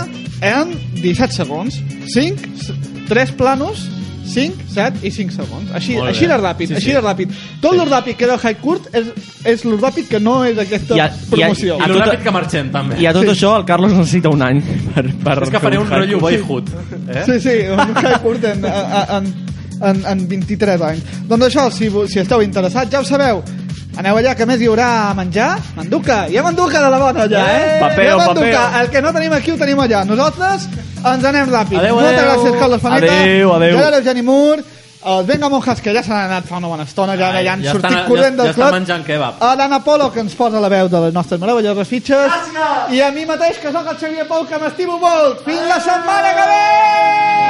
en 17 segons. 5, 3 planos, 5, 7 i 5 segons. Així, Molt bé. així de ràpid, Sí, així sí. de ràpid. Tot sí. l'ordàpid que era el high curt és, és l'ordàpid que no és aquesta I a- ja, promoció. i a- a Ja, tot- Ràpid que marxem, també. I a tot això, el Carlos necessita un any per, per És que fer faré un haiku. rotllo boyhood. Eh? Sí, sí, un high curt en, en, en, en 23 anys. Doncs això, si, vo- si esteu interessats, ja ho sabeu. Aneu allà, que a més hi haurà menjar, manduca. Hi ha manduca de la bona allà, eh? Eh, papeo, Hi ha manduca. papeo. El que no tenim aquí ho tenim allà. Nosaltres ens anem ràpid. Adeu, Moltes adeu. gràcies, Carlos Faneta. Adeu, adeu. Gerard Eugeni Mur. Els Venga Monjas, que ja s'han anat fa una bona estona, ja, ja han ja sortit estan- corrent ja- del ja estan clot. menjant kebab. A l'Anna Polo, que ens posa la veu de les nostres meravelloses fitxes. I a mi mateix, que sóc el Xavier Pou, que m'estimo molt. Fins la setmana que ve!